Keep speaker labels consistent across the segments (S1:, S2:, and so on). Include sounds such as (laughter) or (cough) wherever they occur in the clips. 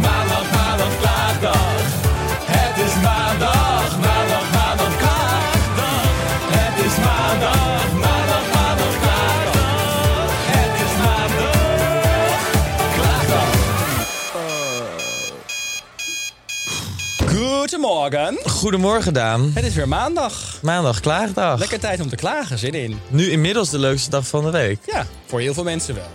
S1: maandag, maandag, klaagdag. Het is maandag, maandag, maandag, klaagdag. Het is maandag, maandag, maandag, klaagdag. Het is maandag, klaagdag. Goedemorgen.
S2: Goedemorgen, Daan.
S1: Het is weer maandag.
S2: Maandag, klaagdag.
S1: Lekker tijd om te klagen, zin in.
S2: Nu inmiddels de leukste dag van de week.
S1: Ja, voor heel veel mensen wel. (laughs)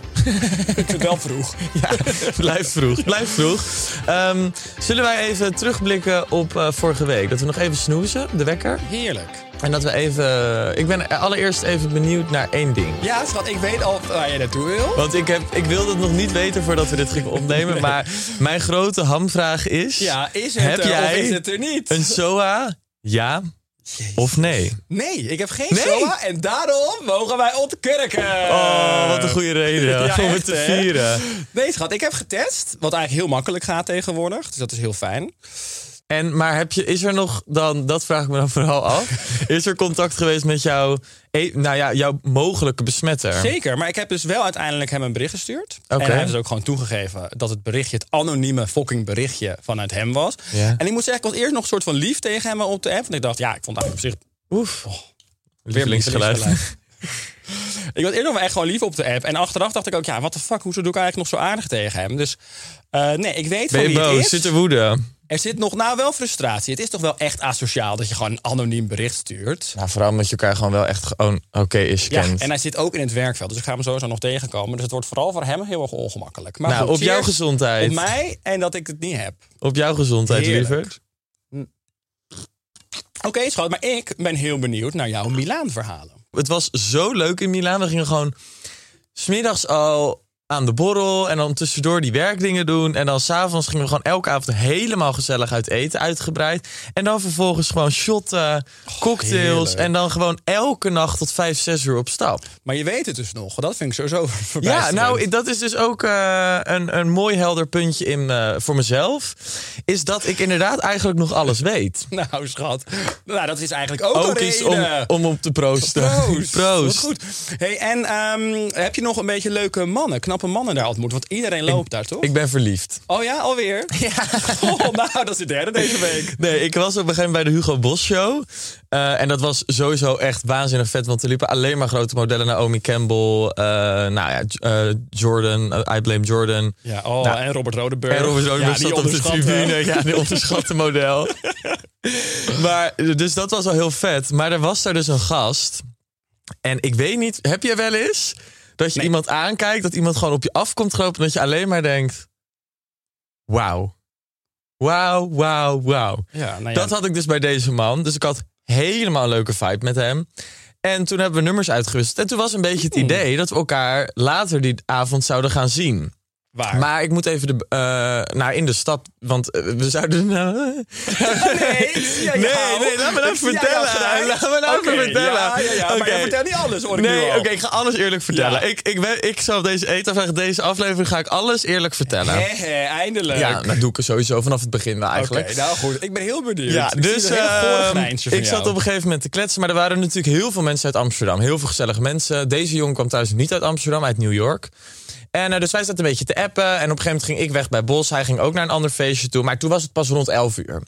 S1: Ik vind het wel vroeg.
S2: Ja, blijf vroeg, blijf vroeg. Ehm, zullen wij even terugblikken op eh, vorige week? Dat we nog even snoezen, de wekker.
S1: Heerlijk.
S2: En dat we even... eh, Ik ben allereerst even benieuwd naar één ding.
S1: Ja, schat, ik weet al waar je naartoe wil.
S2: Want ik, heb, ik wilde het nog niet weten voordat we dit gingen opnemen. Maar mijn grote hamvraag is...
S1: Ja, is het
S2: heb
S1: er
S2: jij
S1: of is het er niet?
S2: een SOA? Ja of nee?
S1: Nee, ik heb geen
S2: Nee?
S1: SOA en daarom mogen wij ontkurken.
S2: Oh, wat een goede reden
S1: Eh. (laughs) Ja,
S2: om
S1: echt,
S2: het te
S1: hè?
S2: vieren.
S1: Nee, schat, ik heb getest. Wat eigenlijk heel makkelijk gaat tegenwoordig. Dus dat is heel fijn.
S2: En, maar heb je, is er nog dan, dat vraag ik me dan vooral af.
S1: (laughs)
S2: Is er contact geweest met jouw, e- nou ja, jouw mogelijke besmetter?
S1: Zeker, maar ik heb dus wel uiteindelijk hem een bericht gestuurd.
S2: Oké.
S1: En hij heeft dus ook gewoon toegegeven dat het berichtje, het anonieme fucking berichtje vanuit hem was.
S2: Ja.
S1: En ik moet zeggen, ik was eerst nog een soort van lief tegen hem op de app. Want ik dacht, ja, ik vond het eigenlijk op zich
S2: Oef.
S1: Weer
S2: Weer linksgeluid. (laughs)
S1: (laughs) ik was eerder nog wel echt gewoon lief op de app. En achteraf dacht ik ook, ja, wat de fuck, hoezo doe ik eigenlijk nog zo aardig tegen hem? Dus eh, nee, ik weet
S2: Ben
S1: van
S2: je
S1: wie het
S2: boos?
S1: is.
S2: Zit er woede?
S1: Er zit nog nou wel frustratie. Het is toch wel echt asociaal dat je gewoon een anoniem bericht stuurt.
S2: Nou, vooral omdat je elkaar gewoon wel echt gewoon oké is
S1: Ja,
S2: kent.
S1: en hij zit ook in het werkveld. Dus ik ga hem sowieso nog tegenkomen. Dus het wordt vooral voor hem heel erg ongemakkelijk. Maar
S2: Nou,
S1: goed,
S2: op jouw
S1: cheers
S2: gezondheid.
S1: Op mij en dat ik het niet heb.
S2: Op jouw gezondheid,
S1: Heerlijk.
S2: lieverd.
S1: Oké, schat, maar ik ben heel benieuwd naar jouw Milaan-verhalen.
S2: Het was zo leuk in Milaan. We gingen gewoon smiddags al aan de borrel en dan tussendoor die werkdingen doen. En dan s'avonds gingen we gewoon elke avond helemaal gezellig uit eten, uitgebreid. En dan vervolgens gewoon shotten, cocktails
S1: Oh, heerlijk.
S2: en dan gewoon elke nacht tot vijf, zes uur op stap.
S1: Maar je weet het dus nog. Dat vind ik sowieso (laughs) voorbij.
S2: Ja, nou, ik- dat is dus ook eh, een, een mooi helder puntje in, eh, voor mezelf. Is dat ik inderdaad eigenlijk nog alles weet.
S1: (laughs) Nou, schat. Nou, dat is eigenlijk ook,
S2: Ook
S1: een
S2: iets om,
S1: reden.
S2: om op te proosten.
S1: Proost. Wat
S2: (laughs) Proost.
S1: goed. Hey, en ehm, heb je nog een beetje leuke mannen, knappe mannen daar ontmoet? Want iedereen loopt daar, toch?
S2: Ik ben verliefd.
S1: Oh ja, alweer? Ja. (laughs) Oh, nou, dat is de derde deze week.
S2: (laughs) Nee, ik was op een gegeven moment bij de Hugo Boss Show. Eh, en dat was sowieso echt waanzinnig vet. Want er liepen alleen maar grote modellen. Naomi Campbell, eh, nou ja, J- eh, Jordan, eh, I Blame Jordan.
S1: Ja, oh,
S2: Nou,
S1: en Robert Rodenburg.
S2: En Robert Zomer
S1: ja, die
S2: zat op de
S1: onderschatten.
S2: tribune. Ja, die onderschatte
S1: (laughs)
S2: model. maar, dus dat was al heel vet. Maar er was daar dus een gast. En ik weet niet, heb je wel eens dat je iemand aankijkt, dat iemand gewoon op je afkomt lopen en dat je alleen maar denkt: wauw. Wauw, wauw, wauw.
S1: Ja, nou ja.
S2: Dat had ik dus bij deze man. Dus ik had helemaal een leuke vibe met hem. En toen hebben we nummers uitgewisseld. En toen was een beetje het idee dat we elkaar later die avond zouden gaan zien.
S1: Waar?
S2: Maar ik moet even de, eh, naar in de stad, want eh, we zouden... (laughs)
S1: nee,
S2: Nee, nee, laat me nou vertellen. Laat me nou even vertellen.
S1: Ja, ja, ja, maar
S2: Oké.
S1: jij vertelt niet alles, hoor ik nu
S2: Nee,
S1: al.
S2: oké, ik ga alles eerlijk vertellen.
S1: Ja.
S2: Ik, ik, ben, ik zal op deze etafraag, deze aflevering, ga ik alles eerlijk vertellen.
S1: Hè, hè, eindelijk.
S2: Ja, dat doe ik er sowieso vanaf het begin wel
S1: Oké,
S2: eigenlijk.
S1: nou goed. Ik ben heel benieuwd.
S2: Ja,
S1: Ik zie
S2: dus
S1: een heel goor
S2: ehm,
S1: grijntje van
S2: ik zat
S1: jou.
S2: op een gegeven moment te kletsen. Maar er waren natuurlijk heel veel mensen uit Amsterdam. Heel veel gezellige mensen. Deze jongen kwam thuis niet uit Amsterdam, uit New York. En eh, dus wij zaten een beetje te appen. En op een gegeven moment ging ik weg bij Bos. Hij ging ook naar een ander feestje toe. Maar toen was het pas rond 11 uur.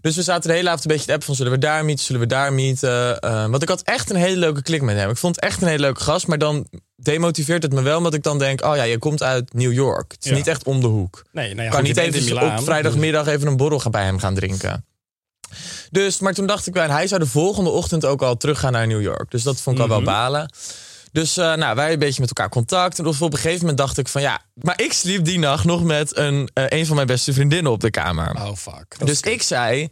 S2: Dus we zaten de hele avond een beetje te appen van... zullen we daar meeten, zullen we daar meeten? Eh, want ik had echt een hele leuke klik met hem. Ik vond het echt een hele leuke gast. Maar dan demotiveert het me wel omdat ik dan denk... oh ja, je komt uit New York. Het is
S1: Ja.
S2: niet echt om de hoek.
S1: Nee, nou ja,
S2: Ik
S1: goed,
S2: kan
S1: je
S2: niet
S1: bent in
S2: even
S1: Milaan. dus-
S2: op vrijdagmiddag even een borrel gaan bij hem gaan drinken. Dus, maar toen dacht ik wel, en hij zou de volgende ochtend ook al teruggaan naar New York. Dus dat vond ik
S1: Mhm.
S2: al wel balen. Dus eh, nou, wij een beetje met elkaar contact. En op een gegeven moment dacht ik van ja. Maar ik sliep die nacht nog met een, eh, een van mijn beste vriendinnen op de kamer.
S1: Oh, fuck. Dat
S2: dus
S1: is-
S2: ik zei.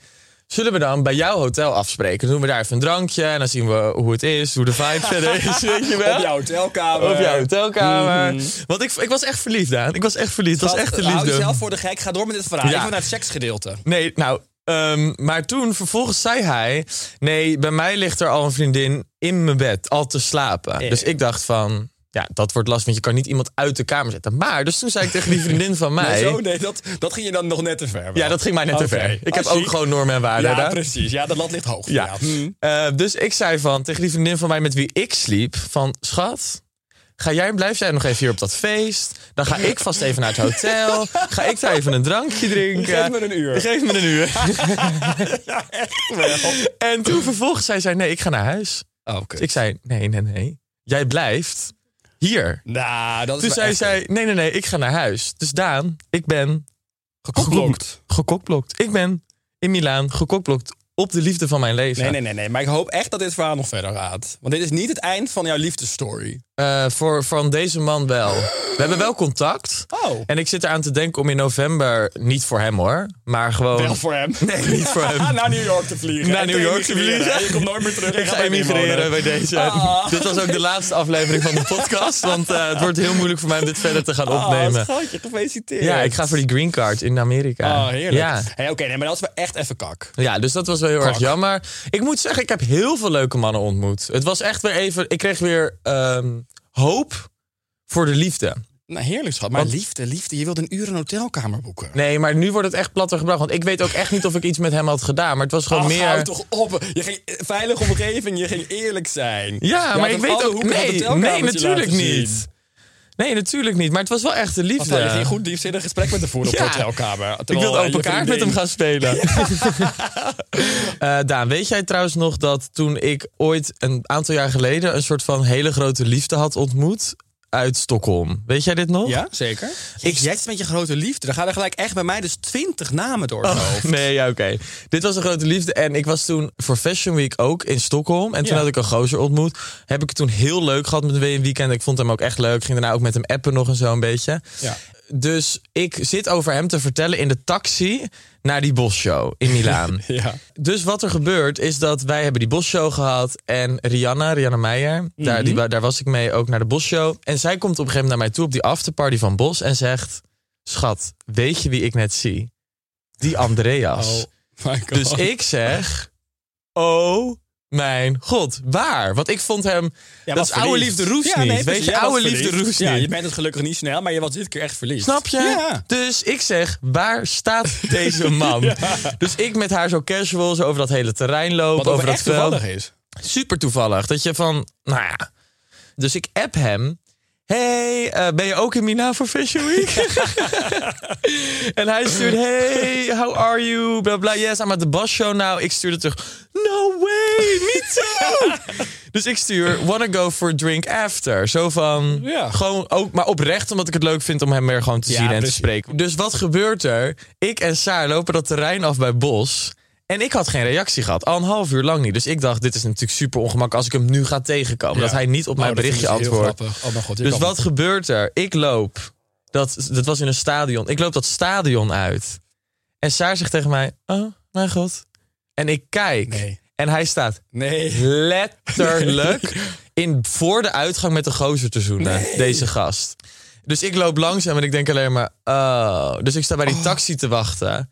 S2: Zullen we dan bij jouw hotel afspreken? Dan doen we daar even een drankje en dan zien we hoe het is, hoe de
S1: (laughs)
S2: vibe verder is. Weet je wel?
S1: Op jouw hotelkamer.
S2: Op jouw hotelkamer. Want ik, ik was echt verliefd, Daan. Ik was echt verliefd. Het was echt de liefde.
S1: Hou jezelf voor de gek. Ga door met dit verhaal.
S2: Ja.
S1: Ik wil naar het seksgedeelte.
S2: Nee, nou. ehm, maar toen vervolgens zei hij: Nee, bij mij ligt er al een vriendin in mijn bed, al te slapen. Dus ik dacht van. Ja, dat wordt lastig, want je kan niet iemand uit de kamer zetten. Maar, dus toen zei ik tegen die vriendin van mij...
S1: Zo, (laughs) nee, dat, dat ging je dan nog net te ver. wel.
S2: ja, dat ging mij net te
S1: Oké.
S2: ver. Ik heb
S1: Ah,
S2: ook
S1: zie.
S2: gewoon normen en waarden.
S1: Ja,
S2: hè?
S1: precies. Ja, dat lat ligt hoog.
S2: Ja.
S1: Ja. Hm.
S2: Eh, dus ik zei van, tegen die vriendin van mij met wie ik sliep, van schat, ga jij, blijf jij nog even hier op dat feest? Dan ga ik vast even naar het hotel. Ga ik daar even een drankje drinken.
S1: Geef me een uur.
S2: Geef me een uur. en toen vervolgens zei zij, nee, ik ga naar huis.
S1: Oké.
S2: Dus ik zei, nee, nee, nee. Jij blijft hier.
S1: Nou, dat is
S2: Toen
S1: wel
S2: zei
S1: echt
S2: zij, nee, nee, nee, ik ga naar huis. Dus Daan, ik ben
S1: eh, geklokt.
S2: gekokblokt. Ik ben in Milaan gekokblokt op de liefde van mijn leven.
S1: Nee, nee, nee, nee. Maar ik hoop echt dat dit verhaal nog verder gaat. Want dit is niet het eind van jouw liefdesstory.
S2: Eh, voor, van deze man wel. We hebben wel contact.
S1: Oh.
S2: En ik zit eraan te denken om in november, niet voor hem hoor, maar gewoon...
S1: Wel
S2: (laughs)
S1: voor hem.
S2: Nee, niet voor hem.
S1: (laughs) Naar New York te vliegen.
S2: Naar
S1: En
S2: New York te
S1: emigreren.
S2: vliegen.
S1: Je komt nooit meer terug.
S2: Ik ga emigreren bij deze.
S1: Ah.
S2: Dit was ook de laatste aflevering van de podcast, want eh, het wordt heel moeilijk voor mij om dit verder te gaan
S1: Oh,
S2: opnemen.
S1: schatje, gefeliciteerd.
S2: Ja, ik ga voor die green card in Amerika.
S1: Oh, heerlijk.
S2: Ja.
S1: Hey, Oké, nee, maar dat is wel echt even kak.
S2: Ja, dus dat was wel heel erg
S1: Kak.
S2: jammer. Ik moet zeggen, ik heb heel veel leuke mannen ontmoet. Het was echt weer even... Ik kreeg weer ehm, hoop voor de liefde.
S1: Nou, heerlijk schat. Maar liefde, liefde. Je wilt een uur een hotelkamer boeken.
S2: Nee, maar nu wordt het echt platter gebracht. Want ik weet ook echt niet of ik iets met hem had gedaan. Maar het was gewoon
S1: Ach,
S2: meer...
S1: hou toch op. Je ging eh, veilige omgeving, je ging eerlijk zijn. Je
S2: Ja,
S1: had
S2: maar ik
S1: aan
S2: weet
S1: alle
S2: ook...
S1: hoeken dat
S2: Nee,
S1: hotelkamertje
S2: nee, natuurlijk
S1: laten zien.
S2: niet. Nee, natuurlijk niet. Maar het was wel echt de
S1: Want nou, je ging
S2: liefde.
S1: goed diepzinnig gesprek met hem voeren op
S2: Ja.
S1: de hotelkamer.
S2: Ik wilde open kaart met hem
S1: gaan.
S2: gaan spelen. (laughs) Eh, Daan, weet jij trouwens nog dat toen ik ooit een aantal jaar geleden... een soort van hele grote liefde had ontmoet uit Stockholm? Weet jij dit nog?
S1: Ja, zeker. Ik zet met je grote liefde. Dan gaan er gelijk echt bij mij dus twintig namen door. mijn hoofd.
S2: (laughs) Oh, Nee, ja, oké. Dit was een grote liefde. En ik was toen voor Fashion Week ook in Stockholm. En toen
S1: Ja.
S2: had ik een gozer ontmoet. Heb ik het toen heel leuk gehad met een WM weekend. Ik vond hem ook echt leuk. Ging daarna ook met hem appen nog en zo een beetje.
S1: Ja.
S2: Dus ik zit over hem te vertellen in de taxi naar die bosshow in Milaan.
S1: (laughs) Ja.
S2: Dus wat er gebeurt is dat wij hebben die bosshow gehad. En Rihanna, Rihanna Meijer, daar,
S1: Mhm.
S2: die, wa- daar was ik mee ook naar de bosshow. En zij komt op een gegeven moment naar mij toe op die afterparty van Bos. En zegt, schat, weet je wie ik net zie? Die Andreas.
S1: Oh my god.
S2: Dus ik zeg, oh mijn god, waar? Want ik vond hem,
S1: Ja,
S2: dat
S1: was
S2: is oude
S1: verliefd.
S2: liefde roest
S1: Ja,
S2: niet.
S1: nee,
S2: Weet
S1: precies.
S2: je,
S1: Jij was
S2: oude liefde
S1: verliefd.
S2: roest
S1: Ja,
S2: niet.
S1: je bent het gelukkig niet snel, maar je was dit keer echt verliefd.
S2: Snap je?
S1: Ja.
S2: Dus ik zeg, waar staat deze
S1: (laughs)
S2: man? Dus ik met haar zo casual, zo over dat hele terrein lopen,
S1: Wat over
S2: over dat
S1: echt
S2: veld.
S1: toevallig is.
S2: Super toevallig. Dat je van, nou ja. Dus ik app hem. Hey, eh, ben je ook in Milaan voor Fashion Week?
S1: (laughs)
S2: en hij stuurt, hey, how are you? Bla bla, yes, I'm at the bus show now. Ik stuurde terug, no way, me too. (laughs) dus ik stuur, wanna go for a drink after. Zo van,
S1: Ja.
S2: gewoon ook, maar oprecht, omdat ik het leuk vind om hem weer gewoon te
S1: Ja,
S2: zien en
S1: precies.
S2: te spreken. Dus wat gebeurt er? Ik en Saar lopen dat terrein af bij Bos. En ik had geen reactie gehad. Al een half uur lang niet. Dus ik dacht, dit is natuurlijk super ongemakkelijk als ik hem nu ga tegenkomen. Dat
S1: Ja.
S2: hij niet op
S1: Oh,
S2: mijn
S1: dat vind
S2: berichtje
S1: ik heel
S2: antwoordt.
S1: grappig. Oh mijn god. je
S2: Dus
S1: kan-
S2: wat gebeurt er? Ik loop. Dat, dat was in een stadion. Ik loop dat stadion uit. En Saar zegt tegen mij: Oh, mijn god. En ik kijk.
S1: Nee.
S2: En hij staat
S1: Nee.
S2: letterlijk in, voor de uitgang met de gozer te zoenen. Deze gast.
S1: Oh.
S2: Dus ik loop langzaam en ik denk alleen maar: Oh. Dus ik sta bij die taxi te wachten.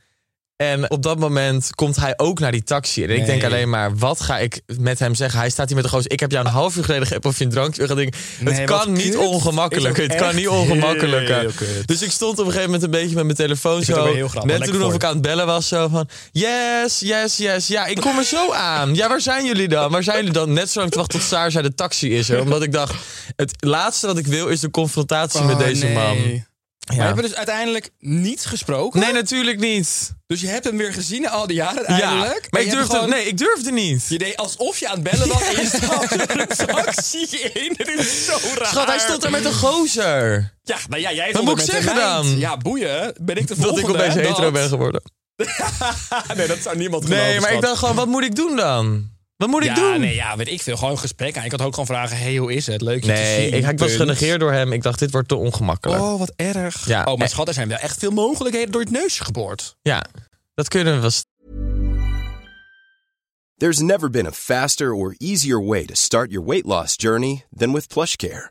S2: En op dat moment komt hij ook naar die taxi. En ik denk
S1: Nee.
S2: alleen maar, wat ga ik met hem zeggen? Hij staat hier met de gozer. Ik heb jou een half uur geleden geappt of je een drankje wil gaan drinken.
S1: Nee,
S2: het
S1: wat
S2: kan niet
S1: kut.
S2: ongemakkelijk.
S1: Is ook
S2: Het kan
S1: echt
S2: niet ongemakkelijker.
S1: heel kut.
S2: Dus ik stond op een gegeven moment een beetje met mijn telefoon
S1: vind het
S2: zo.
S1: ook heel grappig.
S2: net te
S1: Lekker
S2: doen of
S1: voor
S2: ik
S1: je.
S2: aan het bellen was. Zo van, yes, yes, yes. Ja, ik kom er zo aan. Ja, waar zijn jullie dan? Waar zijn jullie dan? Net zo lang te wachten tot Saar zei de taxi is er. Omdat ik dacht, het laatste wat ik wil is de confrontatie met deze man.
S1: Oh, We
S2: Ja.
S1: hebben dus uiteindelijk niet gesproken.
S2: Nee, natuurlijk niet.
S1: Dus je hebt hem weer gezien al die jaren
S2: Ja,
S1: uiteindelijk.
S2: maar
S1: je
S2: ik
S1: hebt
S2: durfde,
S1: gewoon-
S2: nee, ik durfde niet.
S1: Je deed alsof je aan het bellen
S2: (laughs)
S1: was en je stapte een taxi in. Dit is zo raar.
S2: Schat, hij stond daar met een gozer.
S1: Ja, nou ja, jij
S2: Wat
S1: stond er
S2: moet ik
S1: met
S2: zeggen
S1: een meid.
S2: dan?
S1: Ja, boeien. Ben ik de
S2: Dat
S1: volgende?
S2: ik opeens
S1: Dat-
S2: hetero ben geworden.
S1: (laughs) nee, dat zou niemand geloven,
S2: Nee, maar ik
S1: schat.
S2: dacht gewoon, wat moet ik doen dan? Wat moet ik
S1: ja,
S2: doen?
S1: Nee, ja, weet ik veel. Gewoon een gesprek aan. Ik had ook gewoon vragen, hey, hoe is het? Leuk je te
S2: Nee,
S1: zien.
S2: ik, ik was
S1: punt.
S2: genegeerd door hem. Ik dacht, dit wordt te ongemakkelijk.
S1: Oh, wat erg.
S2: Ja.
S1: oh, maar
S2: Eh.
S1: schat, er zijn wel echt veel mogelijkheden door het neusje geboord.
S2: Ja, dat kunnen we wel
S3: There's never been a faster or easier way to start your weight loss journey than with PlushCare.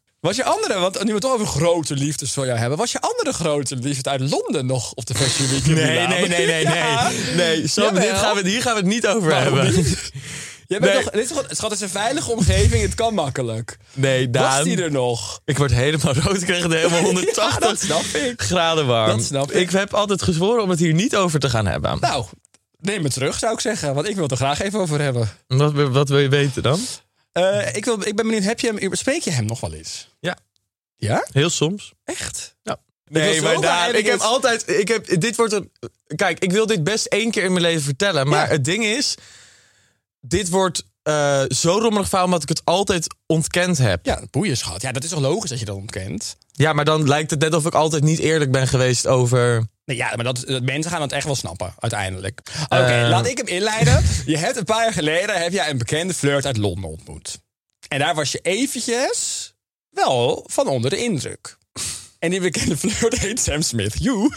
S1: Was je andere, want nu we het toch over grote liefdes voor jou hebben. Was je andere grote liefde uit Londen nog op de Fashion Week? in Milaan? Ja.
S2: (laughs) Nee, Sam, dit
S1: Jawel.
S2: gaan we, hier gaan we het niet over
S1: Waarom
S2: hebben. (laughs)
S1: niet? Jij bent
S2: Nee.
S1: toch, dit is toch, schat, het is een veilige omgeving. Het kan makkelijk.
S2: Nee, Daan.
S1: Was die er nog?
S2: Ik word helemaal (laughs) rood. Ik kreeg het helemaal 180
S1: (laughs) Ja, dat snap ik.
S2: graden warm.
S1: Dat snap ik.
S2: heb altijd gezworen om het hier niet over te gaan hebben.
S1: Nou, neem me terug, zou ik zeggen. Want ik wil het er graag even over hebben.
S2: Wat, wat wil je weten dan?
S1: Eh, ik, wil, ik ben benieuwd, heb je hem, spreek je hem nog wel eens?
S2: Ja.
S1: Ja?
S2: Heel soms.
S1: Echt? Ik
S2: Nee,
S1: was
S2: maar
S1: wel
S2: Daan,
S1: blij dat
S2: ik
S1: ik
S2: heb
S1: het-
S2: altijd... Ik heb, dit wordt een, kijk, ik wil dit best één keer in mijn leven vertellen. Maar
S1: Ja.
S2: het ding is... Dit wordt eh, zo rommelig verhaal omdat ik het altijd ontkend heb.
S1: Ja, boeien schat. Ja, dat is toch logisch dat je dat ontkent?
S2: Ja, maar dan lijkt het net of ik altijd niet eerlijk ben geweest over...
S1: Nee, ja, maar dat, dat- mensen gaan dat echt wel snappen, uiteindelijk. Oké,
S2: Eh.
S1: laat ik hem inleiden. (laughs) Je hebt een paar jaar geleden heb jij een bekende flirt uit Londen ontmoet. En daar was je eventjes wel van onder de indruk. En die bekende flirt (laughs) heet Sam Smith. You.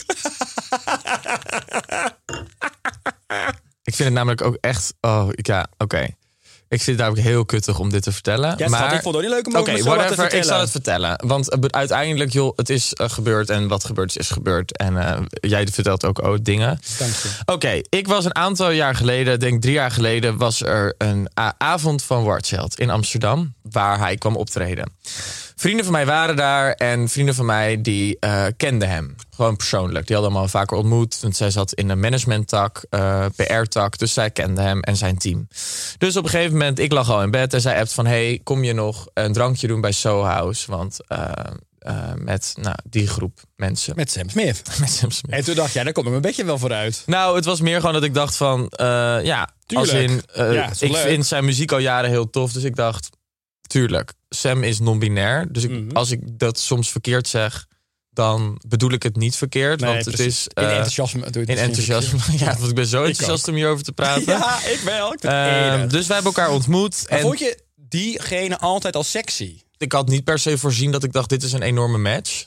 S2: Ik vind het namelijk ook echt... Oh, ik- ja, oké. Ik vind het namelijk heel kuttig om dit te vertellen.
S1: Ja,
S2: maar...
S1: schat, ik vond het ook niet leuk om
S2: Oké,
S1: over mezelf te
S2: whatever, ik
S1: vertellen.
S2: zal het vertellen. Want eh, be- uiteindelijk, joh, het is eh, gebeurd en wat gebeurd is, is gebeurd. En eh, jij vertelt ook oh, dingen.
S1: Dank je.
S2: Oké, ik was een aantal jaar geleden, denk drie jaar geleden... was er een a- avond van Warcheld in Amsterdam... waar hij kwam optreden. Vrienden van mij waren daar en vrienden van mij die eh, kenden hem. Gewoon persoonlijk. Die hadden hem al vaker ontmoet. Want zij zat in een managementtak, eh PR-tak. Dus zij kende hem en zijn team. Dus op een gegeven moment, ik lag al in bed en zij appt van... hey, kom je nog een drankje doen bij Soho House? Want eh, eh, met nou, die groep mensen.
S1: Met Sam Smith.
S2: (laughs) Met Sam Smith.
S1: (laughs) En toen dacht jij, daar komt mijn bedje wel vooruit.
S2: Nou, het was meer gewoon dat ik dacht van, eh, ja,
S1: Tuurlijk.
S2: als in, eh,
S1: Ja, is wel
S2: ik
S1: leuk.
S2: vind zijn muziek al jaren heel tof, dus ik dacht, tuurlijk, Sam is non-binair, dus ik,
S1: Mhm.
S2: als ik dat soms verkeerd zeg, dan bedoel ik het niet verkeerd,
S1: Nee,
S2: want het
S1: precies.
S2: is
S1: in
S2: eh,
S1: enthousiasme. doe je
S2: in
S1: het misschien
S2: enthousiasme. (laughs) ja, want ik ben zo
S1: Ik
S2: enthousiast om hierover te praten.
S1: verkeerd. (laughs)
S2: (laughs)
S1: Ja, ik wel. Ik vind het
S2: Eh,
S1: enig.
S2: dus wij hebben elkaar ontmoet
S1: Maar
S2: en
S1: vond je diegene altijd al sexy?
S2: ik had niet per se voorzien dat ik dacht, dit is een enorme match.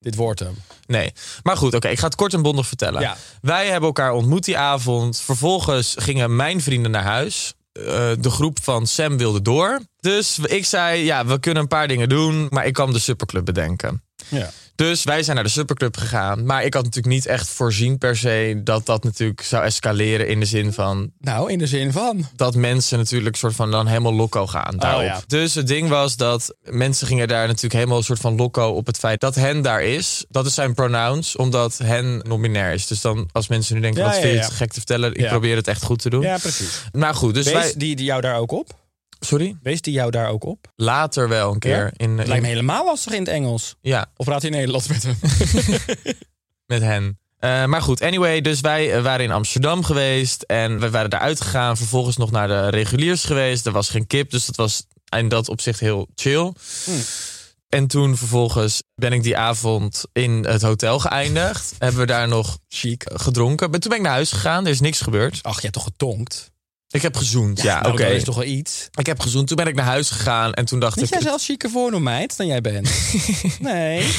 S1: Dit wordt hem.
S2: Nee. Maar goed, oké, ik ga het kort en bondig vertellen.
S1: Ja.
S2: Wij hebben elkaar ontmoet die avond. Vervolgens gingen mijn vrienden naar huis. Eh, de groep van Sam wilde door. Dus ik zei, ja, we kunnen een paar dingen doen. Maar ik kan de superclub bedenken.
S1: Ja.
S2: Dus wij zijn naar de superclub gegaan. Maar ik had natuurlijk niet echt voorzien per se... dat dat natuurlijk zou escaleren in de zin van
S1: Nou, in de zin van.
S2: dat mensen natuurlijk soort van dan helemaal loco gaan daarop.
S1: Oh, ja.
S2: Dus het ding was dat mensen gingen daar natuurlijk helemaal een soort van loco op het feit dat hen daar is. Dat is zijn pronouns, omdat hen nominair is. Dus dan als mensen nu denken,
S1: Ja,
S2: wat
S1: ja,
S2: vind je
S1: ja.
S2: het gek te vertellen? Ik
S1: Ja.
S2: probeer het echt goed te doen.
S1: Ja, precies.
S2: Maar goed, dus
S1: Wees
S2: wij...
S1: die, die jou daar ook op?
S2: Sorry?
S1: Wees die jou daar ook op?
S2: Later wel een keer.
S1: Ja?
S2: In,
S1: Lijkt
S2: in-
S1: me helemaal lastig in het Engels.
S2: ja,
S1: Of praat hij Nederlands met
S2: (laughs)
S1: hem?
S2: met hen. Eh, maar goed, anyway, dus wij eh, waren in Amsterdam geweest en we waren daar uitgegaan. Vervolgens nog naar de reguliers geweest. Er was geen kip, dus dat was in dat opzicht heel chill.
S1: Hmm.
S2: En toen vervolgens ben ik die avond in het hotel
S1: (laughs)
S2: geëindigd. Hebben we daar nog
S1: Chic.
S2: gedronken. Maar toen ben ik naar huis gegaan, er is niks gebeurd.
S1: Ach, je hebt toch getonkt?
S2: Ik heb gezoend, ja, oké.
S1: Nou, Dat is toch wel iets.
S2: Ik heb gezoend, toen ben ik naar huis gegaan en toen dacht
S1: Vind
S2: ik...
S1: jij zelf chique voornoem, meid, dan jij
S2: (laughs)
S1: bent? nee.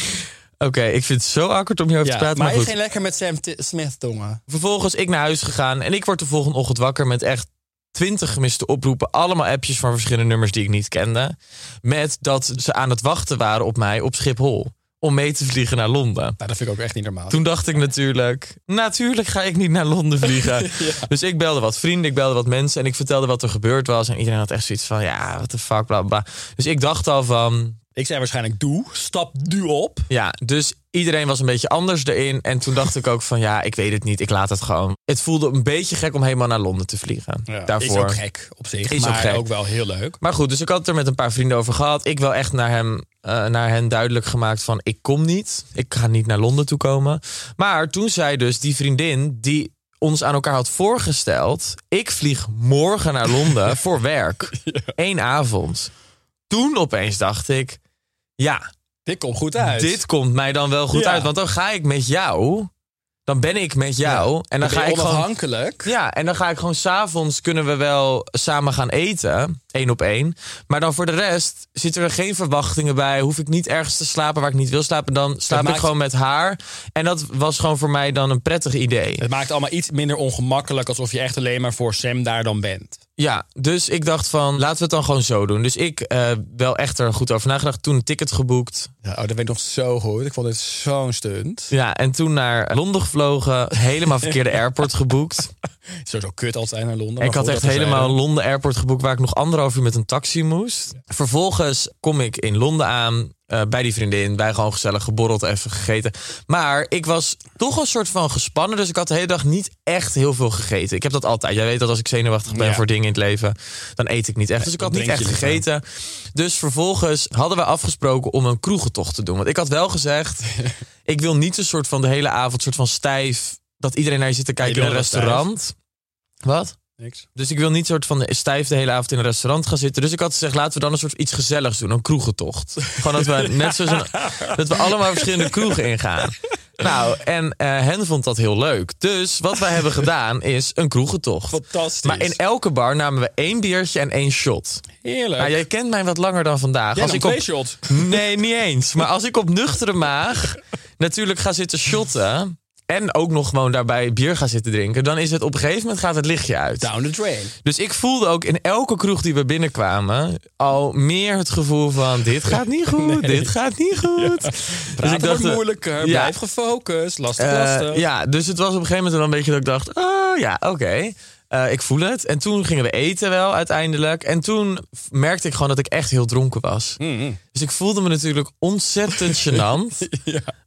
S2: Oké, ik vind het zo awkward om hierover
S1: Ja,
S2: te praten, maar,
S1: maar je
S2: goed.
S1: ging lekker met Sam T- Smith tongen.
S2: Vervolgens ik naar huis gegaan en ik word de volgende ochtend wakker met echt twintig gemiste oproepen. Allemaal appjes van verschillende nummers die ik niet kende. Met dat ze aan het wachten waren op mij op Schiphol om mee te vliegen naar Londen.
S1: Nou, dat vind ik ook echt niet normaal.
S2: Toen dacht ik natuurlijk, natuurlijk ga ik niet naar Londen vliegen. Dus ik belde wat vrienden, ik belde wat mensen en ik vertelde wat er gebeurd was. En iedereen had echt zoiets van, ja, what the fuck, bla bla. bla. Dus ik dacht al van,
S1: Ik zei waarschijnlijk, doe, stap nu op.
S2: ja, dus iedereen was een beetje anders erin. En toen dacht ik ook van, ja, ik weet het niet, ik laat het gewoon. Het voelde een beetje gek om helemaal naar Londen te vliegen. daarvoor.
S1: Is ook gek op zich,
S2: Is ook
S1: maar
S2: gek.
S1: wel heel leuk.
S2: Maar goed, dus ik had het er met een paar vrienden over gehad. Ik wel echt naar, hem, eh, naar hen duidelijk gemaakt van ik kom niet. Ik ga niet naar Londen toe komen. Maar toen zei dus die vriendin die ons aan elkaar had voorgesteld... ik vlieg morgen naar
S1: (laughs)
S2: Londen voor werk. Eén avond. Toen opeens dacht ik... ja,
S1: Dit komt goed uit.
S2: dit komt mij dan wel goed
S1: Ja.
S2: uit. Want dan ga ik met jou... dan ben ik met jou. En dan
S1: ben
S2: ga
S1: je
S2: ik gewoon
S1: onafhankelijk.
S2: ja, en dan ga ik gewoon s'avonds kunnen we wel samen gaan eten. één op één. Maar dan voor de rest zitten er geen verwachtingen bij. Hoef ik niet ergens te slapen waar ik niet wil slapen. Dan slaap ik
S1: maakt-
S2: gewoon met haar. En dat was gewoon voor mij dan een prettig idee.
S1: Het maakt allemaal iets minder ongemakkelijk alsof je echt alleen maar voor Sam daar dan bent.
S2: Ja, dus ik dacht van laten we het dan gewoon zo doen. Dus ik eh, wel echt er goed over nagedacht. Toen een ticket geboekt.
S1: Ja, oh, dat weet ik nog zo goed. Ik vond dit zo'n stunt.
S2: Ja, en toen naar Londen gevlogen. Helemaal verkeerde (laughs) airport geboekt.
S1: Sowieso kut altijd naar Londen.
S2: ik had echt helemaal een Londen airport geboekt waar ik nog anderhalf uur met een taxi moest. Vervolgens kom ik in Londen aan eh, bij die vriendin. Wij gewoon gezellig geborreld, even gegeten. Maar ik was toch een soort van gespannen. Dus ik had de hele dag niet echt heel veel gegeten. Ik heb dat altijd. Jij weet dat als ik zenuwachtig ben
S1: Ja.
S2: voor dingen in het leven, dan eet ik niet echt. Dus ik had
S1: dan
S2: niet echt
S1: drink je niet,
S2: gegeten. Dus vervolgens hadden we afgesproken om een kroegentocht te doen. Want ik had wel
S1: (laughs)
S2: gezegd, ik wil niet een soort van de hele avond soort van stijf. Dat iedereen naar je zit te kijken in een
S1: wil wel stijf.
S2: restaurant. Wat?
S1: Niks.
S2: Dus ik wil niet soort van stijf de hele avond in een restaurant gaan zitten. Dus ik had gezegd, laten we dan een soort iets gezelligs doen. Een kroegentocht. Gewoon dat
S1: (laughs)
S2: we net zoals een, dat we allemaal verschillende kroegen ingaan. Nou, en eh, hen vond dat heel leuk. Dus wat wij hebben gedaan is een kroegentocht.
S1: Fantastisch.
S2: Maar in elke bar namen we één biertje en één shot.
S1: Heerlijk.
S2: Nou, jij kent mij wat langer dan vandaag.
S1: Jij nam
S2: ik
S1: twee shots.
S2: Nee, niet eens. Maar als ik op nuchtere maag natuurlijk ga zitten shotten... en ook nog gewoon daarbij bier ga zitten drinken... dan is het op een gegeven moment gaat het lichtje uit.
S1: Down the drain.
S2: Dus ik voelde ook in elke kroeg die we binnenkwamen al meer het gevoel van dit gaat
S1: (laughs)
S2: niet goed, dit gaat niet goed.
S1: Praten
S2: ik dacht,
S1: wordt
S2: eh,
S1: moeilijker.
S2: ja.
S1: Blijf gefocust. Lastig,
S2: Eh,
S1: lastig.
S2: ja, dus het was op een gegeven moment wel een beetje dat ik dacht, oh ja, oké. Eh, ik voel het. En toen gingen we eten wel uiteindelijk. En toen f- merkte ik gewoon dat ik echt heel dronken was.
S1: Mm-hmm.
S2: Dus ik voelde me natuurlijk
S1: (laughs)
S2: ontzettend gênant.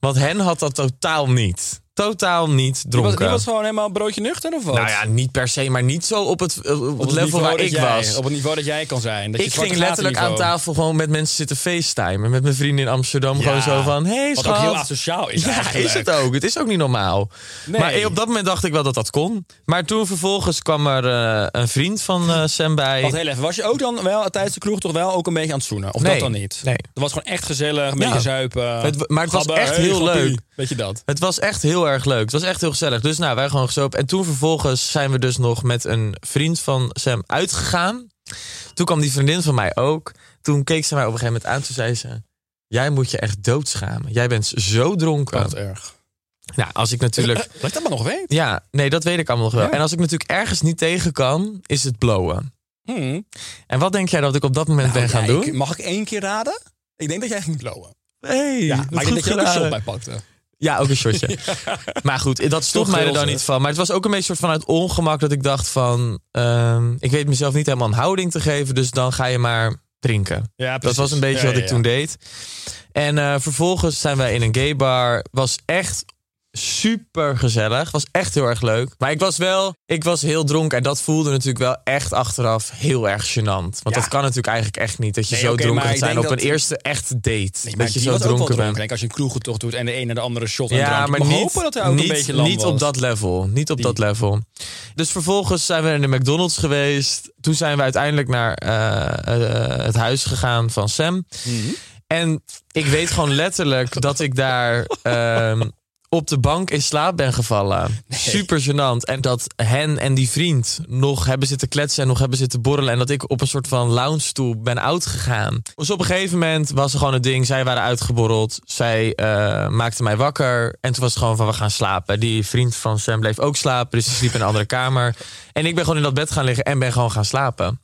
S2: Want hen had dat totaal niet. Totaal niet
S1: Die was,
S2: dronken.
S1: die was gewoon helemaal een broodje nuchter of wat?
S2: nou ja, niet per se, maar niet zo op het, eh, op het level
S1: niveau
S2: waar
S1: dat
S2: ik
S1: jij-
S2: was.
S1: Op het niveau dat jij kan zijn. Dat je
S2: Ik
S1: zwarte
S2: ging letterlijk aan
S1: gatenniveau.
S2: tafel gewoon met mensen zitten facetimen. Met mijn vrienden in Amsterdam.
S1: Ja.
S2: Gewoon zo van, hey
S1: Wat ook heel
S2: schat.
S1: asociaal is
S2: Ja,
S1: eigenlijk.
S2: is het ook. Het is ook niet normaal.
S1: Nee.
S2: Maar eh, op dat moment dacht ik wel dat dat kon. Maar toen vervolgens kwam er eh, een vriend van eh, Sam bij.
S1: Wacht heel even, was je ook dan wel tijdens de kroeg toch wel ook een beetje aan het zoenen? Of
S2: Nee,
S1: dat dan niet?
S2: nee.
S1: Het was gewoon echt gezellig, een
S2: Ja.
S1: beetje zuipen.
S2: Het wa- maar het was echt
S1: hey,
S2: heel
S1: grappie.
S2: leuk.
S1: Weet je dat?
S2: Het was echt heel erg leuk. Het was echt heel gezellig. Dus nou, wij gewoon gezopen. En toen vervolgens zijn we dus nog met een vriend van Sam uitgegaan. Toen kwam die vriendin van mij ook. Toen keek ze mij op een gegeven moment aan. Toen zei ze, jij moet je echt doodschamen. Jij bent zo dronken.
S1: Wat erg.
S2: Nou, als ik
S1: (laughs)
S2: natuurlijk...
S1: Laat ik dat maar nog weten.
S2: Ja, nee, dat weet ik allemaal nog wel. En als ik natuurlijk ergens niet tegen kan, is het blowen.
S1: Hmm. Nou
S2: En wat denk jij dat ik op dat moment ben gaan
S1: Ja,
S2: doen?
S1: ik- mag ik één keer raden? Ik denk dat jij echt moet blowen.
S2: Hey,
S1: Ja,
S2: wat
S1: maar ik denk dat
S2: goed
S1: je ook een
S2: gedaan.
S1: shot bij pakte.
S2: Ja, ook een shotje.
S1: (laughs)
S2: Maar goed, dat stond mij er dan
S1: gulzig.
S2: niet van. Maar het was ook een beetje soort vanuit ongemak dat ik dacht van... ehm, ik weet mezelf niet helemaal een houding te geven, dus dan ga je maar drinken.
S1: Ja, precies.
S2: dat was een beetje
S1: Ja,
S2: wat
S1: ja,
S2: ik
S1: ja.
S2: toen deed. En eh, vervolgens zijn wij in een gay bar. Was echt super gezellig. Was echt heel erg leuk. Maar ik was wel, ik was heel dronken. En dat voelde natuurlijk wel echt achteraf heel erg gênant. Want dat kan natuurlijk eigenlijk echt niet. Dat je
S1: Nee,
S2: zo
S1: oké,
S2: dronken
S1: maar
S2: gaat
S1: ik
S2: zijn op
S1: denk
S2: een
S1: dat-
S2: eerste echte date.
S1: Nee, maar
S2: dat je
S1: die
S2: zo
S1: was ook wel
S2: dronken
S1: dronken.
S2: bent.
S1: Denk, als je een kroegentocht doet en de een naar de andere shot en
S2: Ja,
S1: drankje.
S2: maar
S1: Ik mag
S2: niet,
S1: hopen dat hij ook
S2: niet,
S1: een beetje lam
S2: niet
S1: was.
S2: op dat level. Niet op
S1: Die.
S2: dat level. Dus vervolgens zijn we in de McDonald's geweest. Toen zijn we uiteindelijk naar eh, eh, het huis gegaan van
S1: Mhm. (laughs)
S2: Sam. En ik weet gewoon letterlijk dat ik daar ehm, op de bank in slaap ben gevallen. Super gênant. En dat hen en die vriend nog hebben zitten kletsen en nog hebben zitten borrelen. En dat ik op een soort van lounge-stoel ben uitgegaan. Dus op een gegeven moment was er gewoon het ding. Zij waren uitgeborreld. Zij eh, maakte mij wakker. En toen was het gewoon van we gaan slapen. Die vriend van Sam bleef ook slapen. Dus die sliep in een andere kamer. En ik ben gewoon in dat bed gaan liggen en ben gewoon gaan slapen.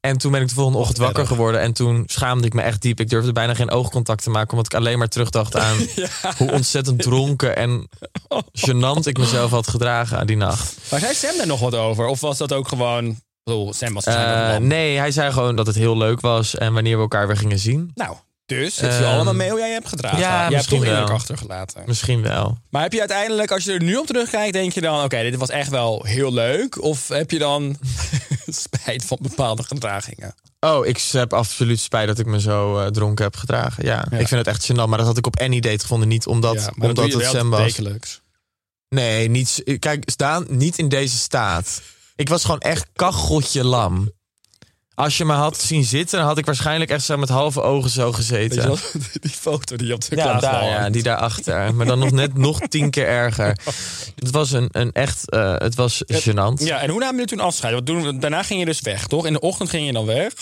S2: En toen ben ik de volgende ochtend wakker geworden. En toen schaamde ik me echt diep. Ik durfde bijna geen oogcontact te maken. Omdat ik alleen maar terugdacht aan hoe ontzettend dronken en gênant ik mezelf had gedragen die nacht.
S1: Maar zei Sam daar nog wat over? Of was dat ook gewoon... Ik bedoel, Sam was
S2: Eh,
S1: waarschijnlijk een man.
S2: nee, hij zei gewoon dat het heel leuk was. En wanneer we elkaar weer gingen zien.
S1: Nou, dus het is
S2: Ehm,
S1: allemaal mee hoe jij je hebt gedragen.
S2: ja,
S1: jij hebt
S2: misschien
S1: toch indruk
S2: wel.
S1: achtergelaten.
S2: Misschien wel.
S1: Maar heb je uiteindelijk, als je er nu op terugkijkt, denk je dan... Oké, dit was echt wel heel leuk. Of heb je dan (laughs) spijt van bepaalde gedragingen?
S2: Oh, ik heb absoluut spijt dat ik me zo eh, dronken heb gedragen. Ja, ik vind het echt gênant. Maar dat had ik op any date gevonden. Niet omdat,
S1: Ja, maar dat doe
S2: omdat
S1: je
S2: het
S1: wel
S2: Sam was.
S1: wekelijks.
S2: Nee, niet, kijk, Daan, niet in deze staat. Ik was gewoon echt kacheltje lam. Als je me had zien zitten, dan had ik waarschijnlijk echt zo met halve ogen zo
S1: Weet
S2: gezeten.
S1: je wel, (laughs) die foto die je op de
S2: Ja,
S1: klaagwal
S2: daar, ja,
S1: hangt.
S2: die daarachter. Maar dan nog net nog tien keer
S1: (laughs)
S2: erger. Het was een, een echt, eh, het was gênant. Ja.
S1: Ja, en hoe namen jullie toen afscheid? Want toen, daarna ging je dus weg, toch? In de ochtend ging je dan weg.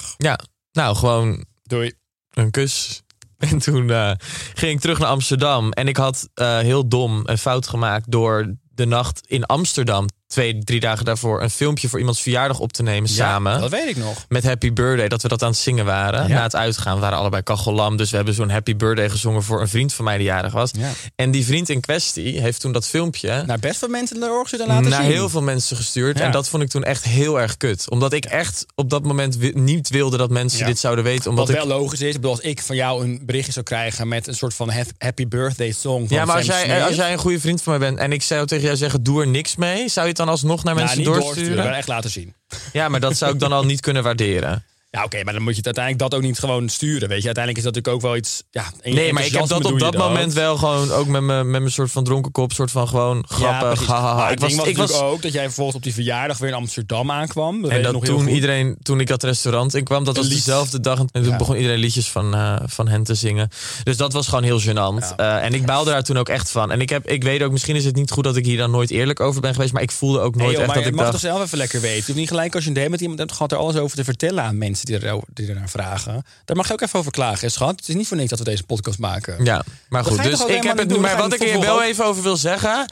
S2: nou gewoon
S1: Doei.
S2: een kus. (laughs) En toen eh, ging ik terug naar Amsterdam. En ik had eh, heel dom een fout gemaakt door de nacht in Amsterdam, twee, drie dagen daarvoor, een filmpje voor iemands verjaardag op te nemen samen.
S1: Dat weet ik nog.
S2: met Happy Birthday, dat we dat aan het zingen waren. Na het uitgaan we waren allebei kachellam. Dus we hebben zo'n Happy Birthday gezongen voor een vriend van mij die jarig was.
S1: Ja.
S2: En die vriend in kwestie heeft toen dat filmpje
S1: Naar best veel mensen in de org zitten
S2: naar
S1: laten zien.
S2: heel veel mensen gestuurd.
S1: Ja.
S2: En dat vond ik toen echt heel erg kut. Omdat ik echt op dat moment wi- niet wilde dat mensen
S1: Ja.
S2: dit zouden weten. Omdat
S1: Wat
S2: ik...
S1: wel logisch is, ik bedoel, als ik van jou een berichtje zou krijgen met een soort van hap- happy birthday song van
S2: Ja, maar als
S1: Sam
S2: jij,
S1: Smith. Nou,
S2: als jij een goede vriend van mij bent en ik zou tegen jou zeggen: doe er niks mee, zou je het dan alsnog naar
S1: Nou,
S2: mensen
S1: niet
S2: doorsturen?
S1: maar echt laten zien.
S2: Ja, maar dat zou ik dan al niet kunnen
S1: (laughs)
S2: waarderen.
S1: Ja, oké, maar dan moet je het uiteindelijk dat ook niet gewoon sturen, weet je. Uiteindelijk is dat natuurlijk ook wel iets... Ja, in je
S2: Nee, maar ik heb
S1: enthousiasme
S2: dat
S1: doe
S2: op
S1: je
S2: dat moment wel gewoon ook met mijn met mijn soort van dronken kop, soort van gewoon
S1: Ja,
S2: grappig.
S1: precies.
S2: hahaha.
S1: Maar
S2: Ik
S1: het
S2: was,
S1: ding was
S2: ik was
S1: natuurlijk ook dat jij vervolgens op die verjaardag weer in Amsterdam aankwam. Dat weet
S2: en
S1: ik
S2: dat
S1: nog heel
S2: toen
S1: goed.
S2: iedereen, toen ik dat restaurant in kwam, dat was
S1: Een lied.
S2: dezelfde dag en toen
S1: Ja.
S2: begon iedereen liedjes van, eh, van hen te zingen. Dus dat was gewoon heel gênant. Eh, en ik baalde daar toen ook echt van. En ik heb, ik weet ook, misschien is het niet goed dat ik hier dan nooit eerlijk over ben geweest, maar ik voelde ook nooit
S1: Nee, joh,
S2: echt
S1: maar
S2: dat
S1: je
S2: ik
S1: mag
S2: dacht.
S1: toch zelf even lekker weten. Je hoeft niet gelijk als je een date met iemand hebt gehad... er alles over te vertellen aan mensen die, er, die ernaar vragen. Daar mag je ook even over klagen, hè, schat. Het is niet voor niks dat we deze podcast maken.
S2: Ja, maar
S1: ga
S2: goed.
S1: je
S2: Dus
S1: toch ook
S2: ik
S1: helemaal
S2: heb het
S1: niet
S2: nu.
S1: doen?
S2: Maar
S1: Dan ga je
S2: wat ik hier wel
S1: vervolgens
S2: even over wil zeggen.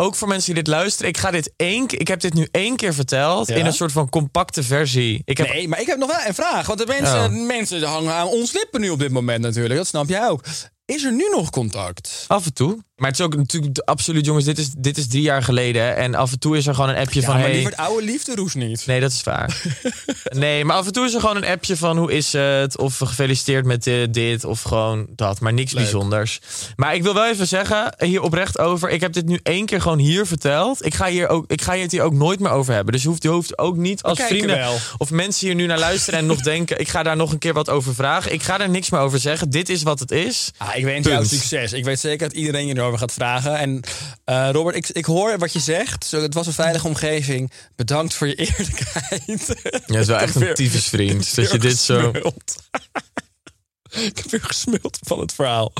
S2: Ook voor mensen die dit luisteren. Ik ga dit één keer- Ik heb dit nu één keer verteld.
S1: Ja?
S2: In een soort van compacte versie. Ik heb
S1: Nee, maar ik heb nog wel een vraag. Want de mensen,
S2: Oh.
S1: de mensen hangen aan ons lippen nu op dit moment natuurlijk. Dat snap jij ook. Is er nu nog contact?
S2: Af en toe. Maar het is ook natuurlijk de- absoluut, jongens, dit is, dit is drie jaar geleden. hè. En af en toe is er gewoon een appje van.
S1: ja, maar
S2: hey,
S1: die wordt oude liefde roes niet.
S2: Nee, dat is waar. nee, maar af en toe is er gewoon een appje van hoe is het? Of gefeliciteerd met eh, dit of gewoon dat. Maar niks bijzonders. Maar ik wil wel even zeggen, hier oprecht over. Ik heb dit nu één keer gewoon hier verteld. Ik ga, hier ook, ik ga het hier ook nooit meer over hebben. Dus je hoeft, je hoeft ook niet als
S1: kijken
S2: vrienden
S1: wel.
S2: of mensen hier nu naar luisteren en nog denken... ik ga daar nog een keer wat over vragen. Ik ga daar niks meer over zeggen. Dit is wat het is.
S1: Ah, ik wens
S2: Punt.
S1: jou succes. Ik weet zeker dat iedereen je erover gaat vragen. En eh, Robert, ik, ik hoor wat je zegt. Zo, Het was een veilige omgeving. Bedankt voor je (laughs) eerlijkheid.
S2: Ja, het is wel echt een tyfusvriend. Dat je dit zo...
S1: Gesmuld. (laughs) ik heb weer gesmuld van het verhaal.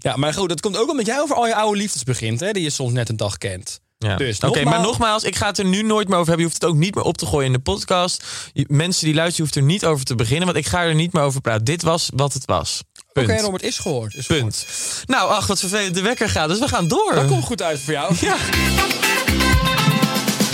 S1: Ja, maar goed, dat komt ook omdat jij over al je oude liefdes begint, hè, die je soms net een dag kent.
S2: Ja.
S1: Dus
S2: Oké, maar nogmaals, ik ga het er nu nooit meer over hebben. Je hoeft het ook niet meer op te gooien in de podcast. Je- mensen die luisteren, je hoeft er niet over te beginnen, want ik ga er niet meer over praten. Dit was wat het was. Punt.
S1: Oké, Robert, is gehoord. Is gehoord.
S2: Punt. Nou, ach, wat vervelend. De wekker gaat, dus we gaan door.
S1: Dat komt goed uit voor jou.
S2: Ja.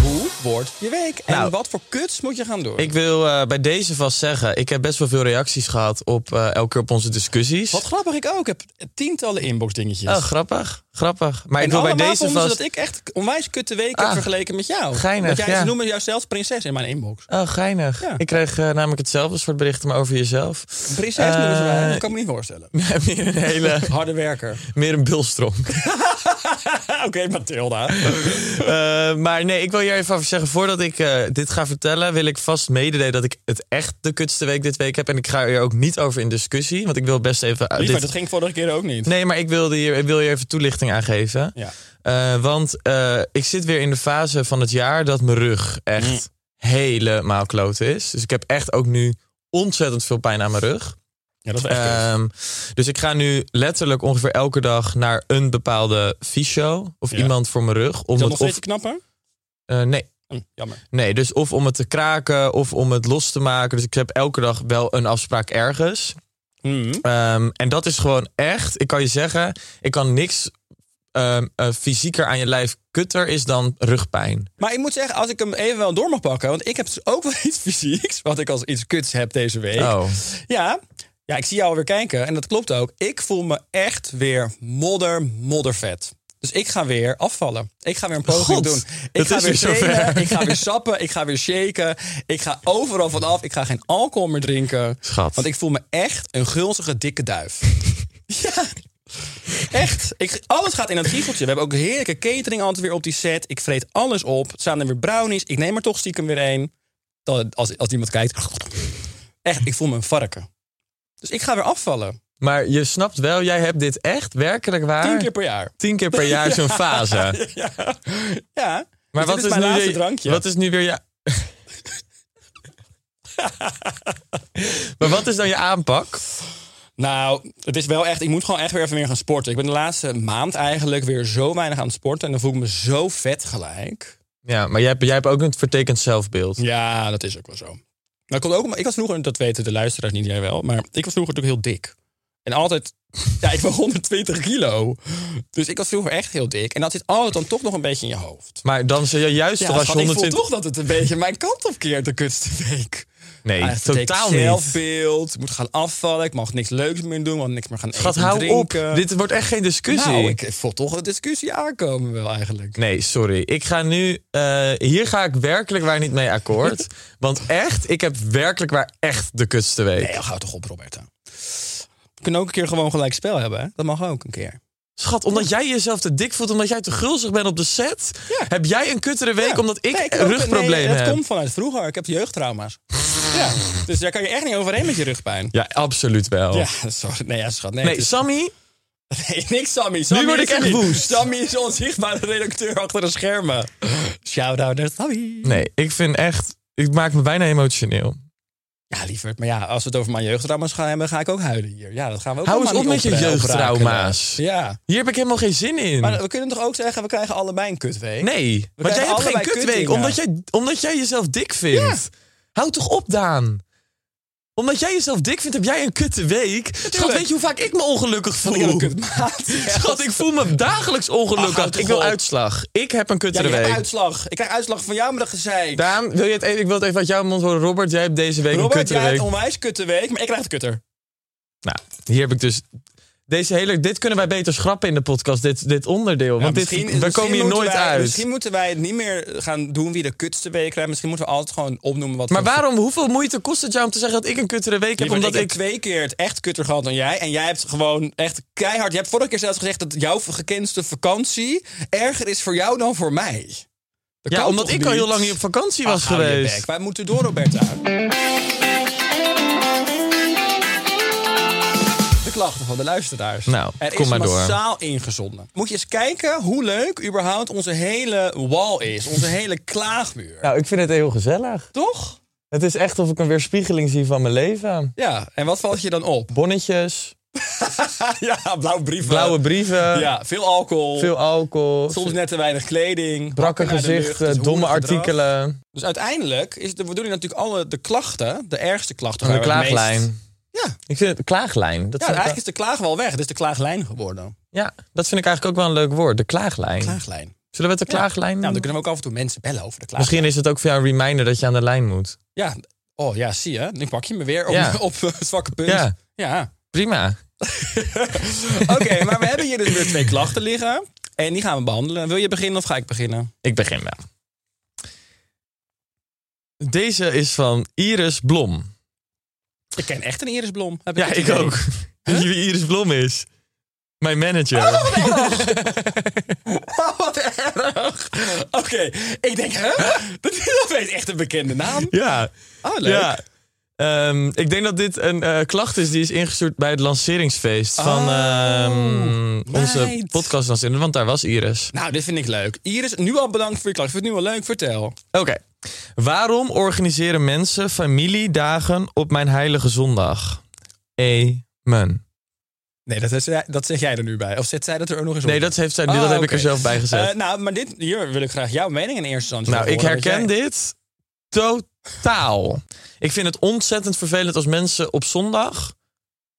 S1: Hoe wordt je week? En
S2: Nou.
S1: wat voor kuts moet je gaan doen?
S2: Ik wil eh, bij deze vast zeggen, ik heb best wel veel reacties gehad op eh, elke keer op onze discussies.
S1: Wat grappig, ik ook. Ik heb tientallen inbox dingetjes.
S2: Oh, grappig, grappig. Maar
S1: en
S2: ik wil bij
S1: allemaal
S2: deze
S1: vonden ze
S2: vast...
S1: dat ik echt onwijs kutte week
S2: Ah,
S1: heb vergeleken met jou.
S2: geinig,
S1: Want jij,
S2: ja.
S1: Ze noemen jou zelfs prinses in mijn inbox.
S2: Oh, geinig.
S1: Ja.
S2: Ik kreeg eh, namelijk hetzelfde soort berichten, maar over jezelf.
S1: Een Prinses noemen ze mij,
S2: Eh,
S1: dat kan ik me niet voorstellen. (laughs)
S2: meer (laughs) een hele...
S1: Harde werker. (laughs)
S2: Meer een bulstronk.
S1: Ah, Oké, (laughs) Mathilda.
S2: Eh, maar nee, ik wil hier even over zeggen. Voordat ik eh, dit ga vertellen, wil ik vast mededelen dat ik het echt de kutste week dit week heb. En ik ga er ook niet over in discussie. Want ik wil best even. eh,
S1: Liever,
S2: dit-
S1: dat ging vorige keer ook niet.
S2: Nee, maar ik, wilde hier, ik wil hier even toelichting aan geven.
S1: Ja.
S2: Eh, want eh, ik zit weer in de fase van het jaar dat mijn rug
S1: Mm.
S2: echt helemaal kloot is. Dus ik heb echt ook nu ontzettend veel pijn aan mijn rug.
S1: Ja, dat is wel echt kut.
S2: Ehm, dus ik ga nu letterlijk ongeveer elke dag naar een bepaalde fysio of
S1: Ja.
S2: iemand voor mijn rug. Om
S1: Is dat
S2: het
S1: nog
S2: of,
S1: steeds knappen? Hm,
S2: eh, nee.
S1: jammer.
S2: nee, dus of om het te kraken of om het los te maken. Dus ik heb elke dag wel een afspraak ergens.
S1: Hmm.
S2: Ehm, en dat is gewoon echt, ik kan je zeggen, ik kan niks ehm, eh, fysieker aan je lijf kutter is dan rugpijn.
S1: Maar ik moet zeggen, als ik hem even wel door mag pakken... want ik heb dus ook (laughs) wel iets fysieks... wat ik als iets kuts heb deze week.
S2: Oh,
S1: Ja, ja, ik zie jou alweer kijken en dat klopt ook. Ik voel me echt weer modder, moddervet. Dus ik ga weer afvallen. Ik ga weer een poging
S2: God,
S1: doen. Ik
S2: het
S1: ga
S2: is
S1: weer
S2: weer zover.
S1: trainen, (laughs) ik ga weer sappen, ik ga weer shaken. Ik ga overal vanaf, ik ga geen alcohol meer drinken.
S2: Schat.
S1: Want ik voel me echt een gulzige, dikke
S2: (laughs)
S1: duif. ja, echt. Ik, alles gaat in dat giegeltje. We hebben ook heerlijke catering altijd weer op die set. Ik vreet alles op. Het staan er weer brownies. Ik neem er toch stiekem weer één. Dan- Als, als iemand kijkt. Echt, ik voel me een varken. Dus ik ga weer afvallen.
S2: maar je snapt wel, jij hebt dit echt werkelijk waar.
S1: Tien keer per jaar. (laughs)
S2: tien keer per jaar zo'n fase.
S1: Ja. ja.
S2: Maar
S1: Dus dit
S2: wat is,
S1: mijn
S2: nu
S1: laatste
S2: weer,
S1: drankje?
S2: Wat is nu weer je.
S1: (laughs)
S2: maar wat is dan je aanpak?
S1: Nou, het is wel echt. Ik moet gewoon echt weer even meer gaan sporten. Ik ben de laatste maand eigenlijk weer zo weinig aan het sporten. En dan voel ik me zo vet gelijk.
S2: Ja, maar jij hebt, jij hebt ook een vertekend zelfbeeld.
S1: Ja, dat is ook wel zo. Maar dat komt ook, om- ik was vroeger, dat weten de luisteraars niet, jij wel, maar ik was vroeger natuurlijk heel dik. En altijd, (laughs) ja, ik ben 120 kilo. Dus ik was vroeger echt heel dik. En dat zit altijd dan toch nog een beetje in je hoofd.
S2: Maar dan zul je juist
S1: Ja,
S2: toch als je
S1: schat, ik
S2: 120...
S1: voel toch dat het een beetje mijn kant op keert de kutste week.
S2: Nee,
S1: Ah, het betekent
S2: totaal niet.
S1: Zelfbeeld, ik moet gaan afvallen, ik mag niks leuks meer doen, want niks meer gaan eten,
S2: Schat, hou
S1: drinken.
S2: op. Dit wordt echt geen discussie.
S1: Nou, ik voel toch een discussie aankomen wel eigenlijk.
S2: Nee, sorry. Ik ga nu... eh, hier ga ik werkelijk waar niet mee
S1: (laughs)
S2: akkoord. Want echt, ik heb werkelijk waar echt de kutste week.
S1: Nee, hou toch op, Roberta. We kunnen ook een keer gewoon gelijk spel hebben, hè? Dat mag ook een keer.
S2: Schat, omdat jij jezelf te dik voelt, omdat jij te gulzig bent op de set...
S1: Ja.
S2: heb jij een kuttere week
S1: Ja.
S2: omdat ik
S1: Nee,
S2: een
S1: ook-
S2: rugprobleem
S1: nee, dat
S2: heb.
S1: komt vanuit vroeger. Ik heb jeugdtrauma's. ja, dus daar kan je echt niet overheen met je rugpijn.
S2: Ja, absoluut wel.
S1: Ja, sorry. Nee, ja, schat. Nee, het
S2: Oh. Nee,
S1: is-
S2: Sammy,
S1: (laughs) nee, niks Sammy. Sammy
S2: word
S1: is
S2: ik
S1: er
S2: echt
S1: niet.
S2: woest.
S1: Sammy is de onzichtbare redacteur achter de schermen. Shout-out naar Sammy.
S2: Nee, ik vind echt. Ik maak me bijna emotioneel.
S1: Ja, lieverd. Maar ja, als we het over mijn jeugdtrauma's gaan hebben, ga ik ook huilen hier. Ja, dat gaan we ook
S2: Hou eens
S1: allemaal
S2: op
S1: niet
S2: met je
S1: opra- oprakelen.
S2: jeugdtrauma's.
S1: Ja.
S2: Hier heb ik helemaal geen zin in.
S1: Maar we kunnen toch ook zeggen, we krijgen allebei een kutweek?
S2: nee, want
S1: krijgen
S2: jij hebt geen
S1: allebei
S2: kutweek.
S1: kutdingen.
S2: Omdat jij, omdat jij jezelf dik vindt. Hou toch op, Daan. Omdat jij jezelf dik vindt, heb jij een kutte week. Schat, weet je hoe vaak ik me ongelukkig
S1: Ik heb een
S2: voel?
S1: (laughs) kutmaat.
S2: (laughs) Schat, ik voel me dagelijks
S1: Ach,
S2: ongelukkig.
S1: houd toch
S2: ik wil
S1: op.
S2: uitslag. Ik heb een
S1: Ja,
S2: kuttere
S1: ik heb
S2: week.
S1: uitslag. Ik krijg uitslag van jou met dat gezeik.
S2: Daan, wil je het even, ik wil het even uit jouw mond horen. Robert, jij hebt deze week een
S1: Robert, jij
S2: kuttere
S1: hebt
S2: week.
S1: een onwijs kutte week, maar ik krijg de kutter.
S2: Nou, hier heb ik dus. Deze hele, dit kunnen wij beter schrappen in de podcast, dit, dit onderdeel.
S1: Ja,
S2: want dit,
S1: misschien-
S2: we
S1: misschien
S2: komen hier
S1: moeten
S2: nooit
S1: wij-
S2: uit.
S1: Misschien moeten wij het niet meer gaan doen wie de kutste week krijgt. Misschien moeten we altijd gewoon opnoemen wat...
S2: Maar
S1: we-
S2: waarom, hoeveel moeite kost het jou om te zeggen dat ik een kuttere week heb?
S1: Lieverd,
S2: Omdat
S1: ik
S2: ik.
S1: heb twee keer het echt kutter gehad dan jij. En jij hebt gewoon echt keihard... Je hebt vorige keer zelfs gezegd dat jouw gekenste vakantie... erger is voor jou dan voor mij. Dat
S2: Ja,
S1: kan
S2: omdat
S1: toch
S2: ik al heel
S1: niet?
S2: lang niet op vakantie was
S1: Ach, hou je bek.
S2: geweest.
S1: Wij moeten door, Roberta. De klachten van de luisteraars.
S2: Nou,
S1: er
S2: kom
S1: is
S2: maar door.
S1: massaal ingezonden. Moet je eens kijken hoe leuk überhaupt onze hele wall is. Onze hele klaagmuur.
S2: Nou, ik vind het heel gezellig.
S1: Toch?
S2: Het is echt of ik een weerspiegeling zie van mijn leven.
S1: Ja, en wat valt je dan
S2: (laughs)
S1: op?
S2: Bonnetjes,
S1: ja, blauw brief.
S2: blauwe brieven,
S1: Ja, veel alcohol.
S2: veel alcohol,
S1: Soms net te weinig kleding.
S2: brakke
S1: naar de lucht, het
S2: gezichten,
S1: hoer
S2: domme
S1: gedrag.
S2: artikelen.
S1: Dus uiteindelijk is de bedoeling natuurlijk alle de klachten, de ergste klachten.
S2: Een
S1: waar we het meest-
S2: klaaglijn.
S1: Ja,
S2: Ik vind het klaaglijn. Dat
S1: Ja,
S2: vind ik
S1: eigenlijk is de klaag wel weg. Het is de klaaglijn geworden.
S2: wel- ja, dat vind ik eigenlijk ook wel een leuk woord. De klaaglijn.
S1: Klaaglijn.
S2: Zullen we het de klaaglijn
S1: Nou, dan kunnen we ook af en toe mensen bellen over de klaag.
S2: Hmm. Misschien is het ook voor jou een reminder dat je aan de lijn moet.
S1: Ja. Oh ja, zie je. Nu pak je me weer op,
S2: Ja.
S1: (laughs) op het zwakke punt.
S2: Ja.
S1: Ja.
S2: Prima.
S1: Oké, maar we hebben hier dus weer twee klachten liggen. En die gaan we behandelen. Wil je beginnen of ga ik beginnen?
S2: Ik begin wel. Deze is van Iris Blom.
S1: Ik ken echt een Iris Blom. Heb
S2: Ja,
S1: het
S2: ik
S1: idee.
S2: ook. (laughs) Weet je wie Iris Blom is? Mijn manager.
S1: (laughs) Oh, wat erg. Oké, ik denk, hè? Dat is opeens echt een bekende naam.
S2: ja.
S1: Oh, leuk.
S2: Ja. Ehm, ik denk dat dit een eh, klacht is die is ingestuurd bij het lanceringsfeest van
S1: Oh,
S2: ehm, onze
S1: meid.
S2: podcastlancering. Want daar was Iris.
S1: Nou, dit vind ik leuk. Iris, nu al bedankt voor je klacht. Ik vind het nu al leuk. Vertel.
S2: Oké. Waarom organiseren mensen familiedagen op mijn heilige zondag? Amen.
S1: Nee, dat, is, dat zeg jij er nu bij. Of zet zij dat er ook nog eens
S2: Nee,
S1: op?
S2: dat heeft zij- dat heb ik er
S1: Ah, oké.
S2: zelf bij gezet.
S1: Eh, nou, maar dit, hier wil ik graag jouw mening in eerste instantie
S2: Nou,
S1: over
S2: ik
S1: horen, want
S2: herken
S1: jij-
S2: dit totaal. Ik vind het ontzettend vervelend als mensen op zondag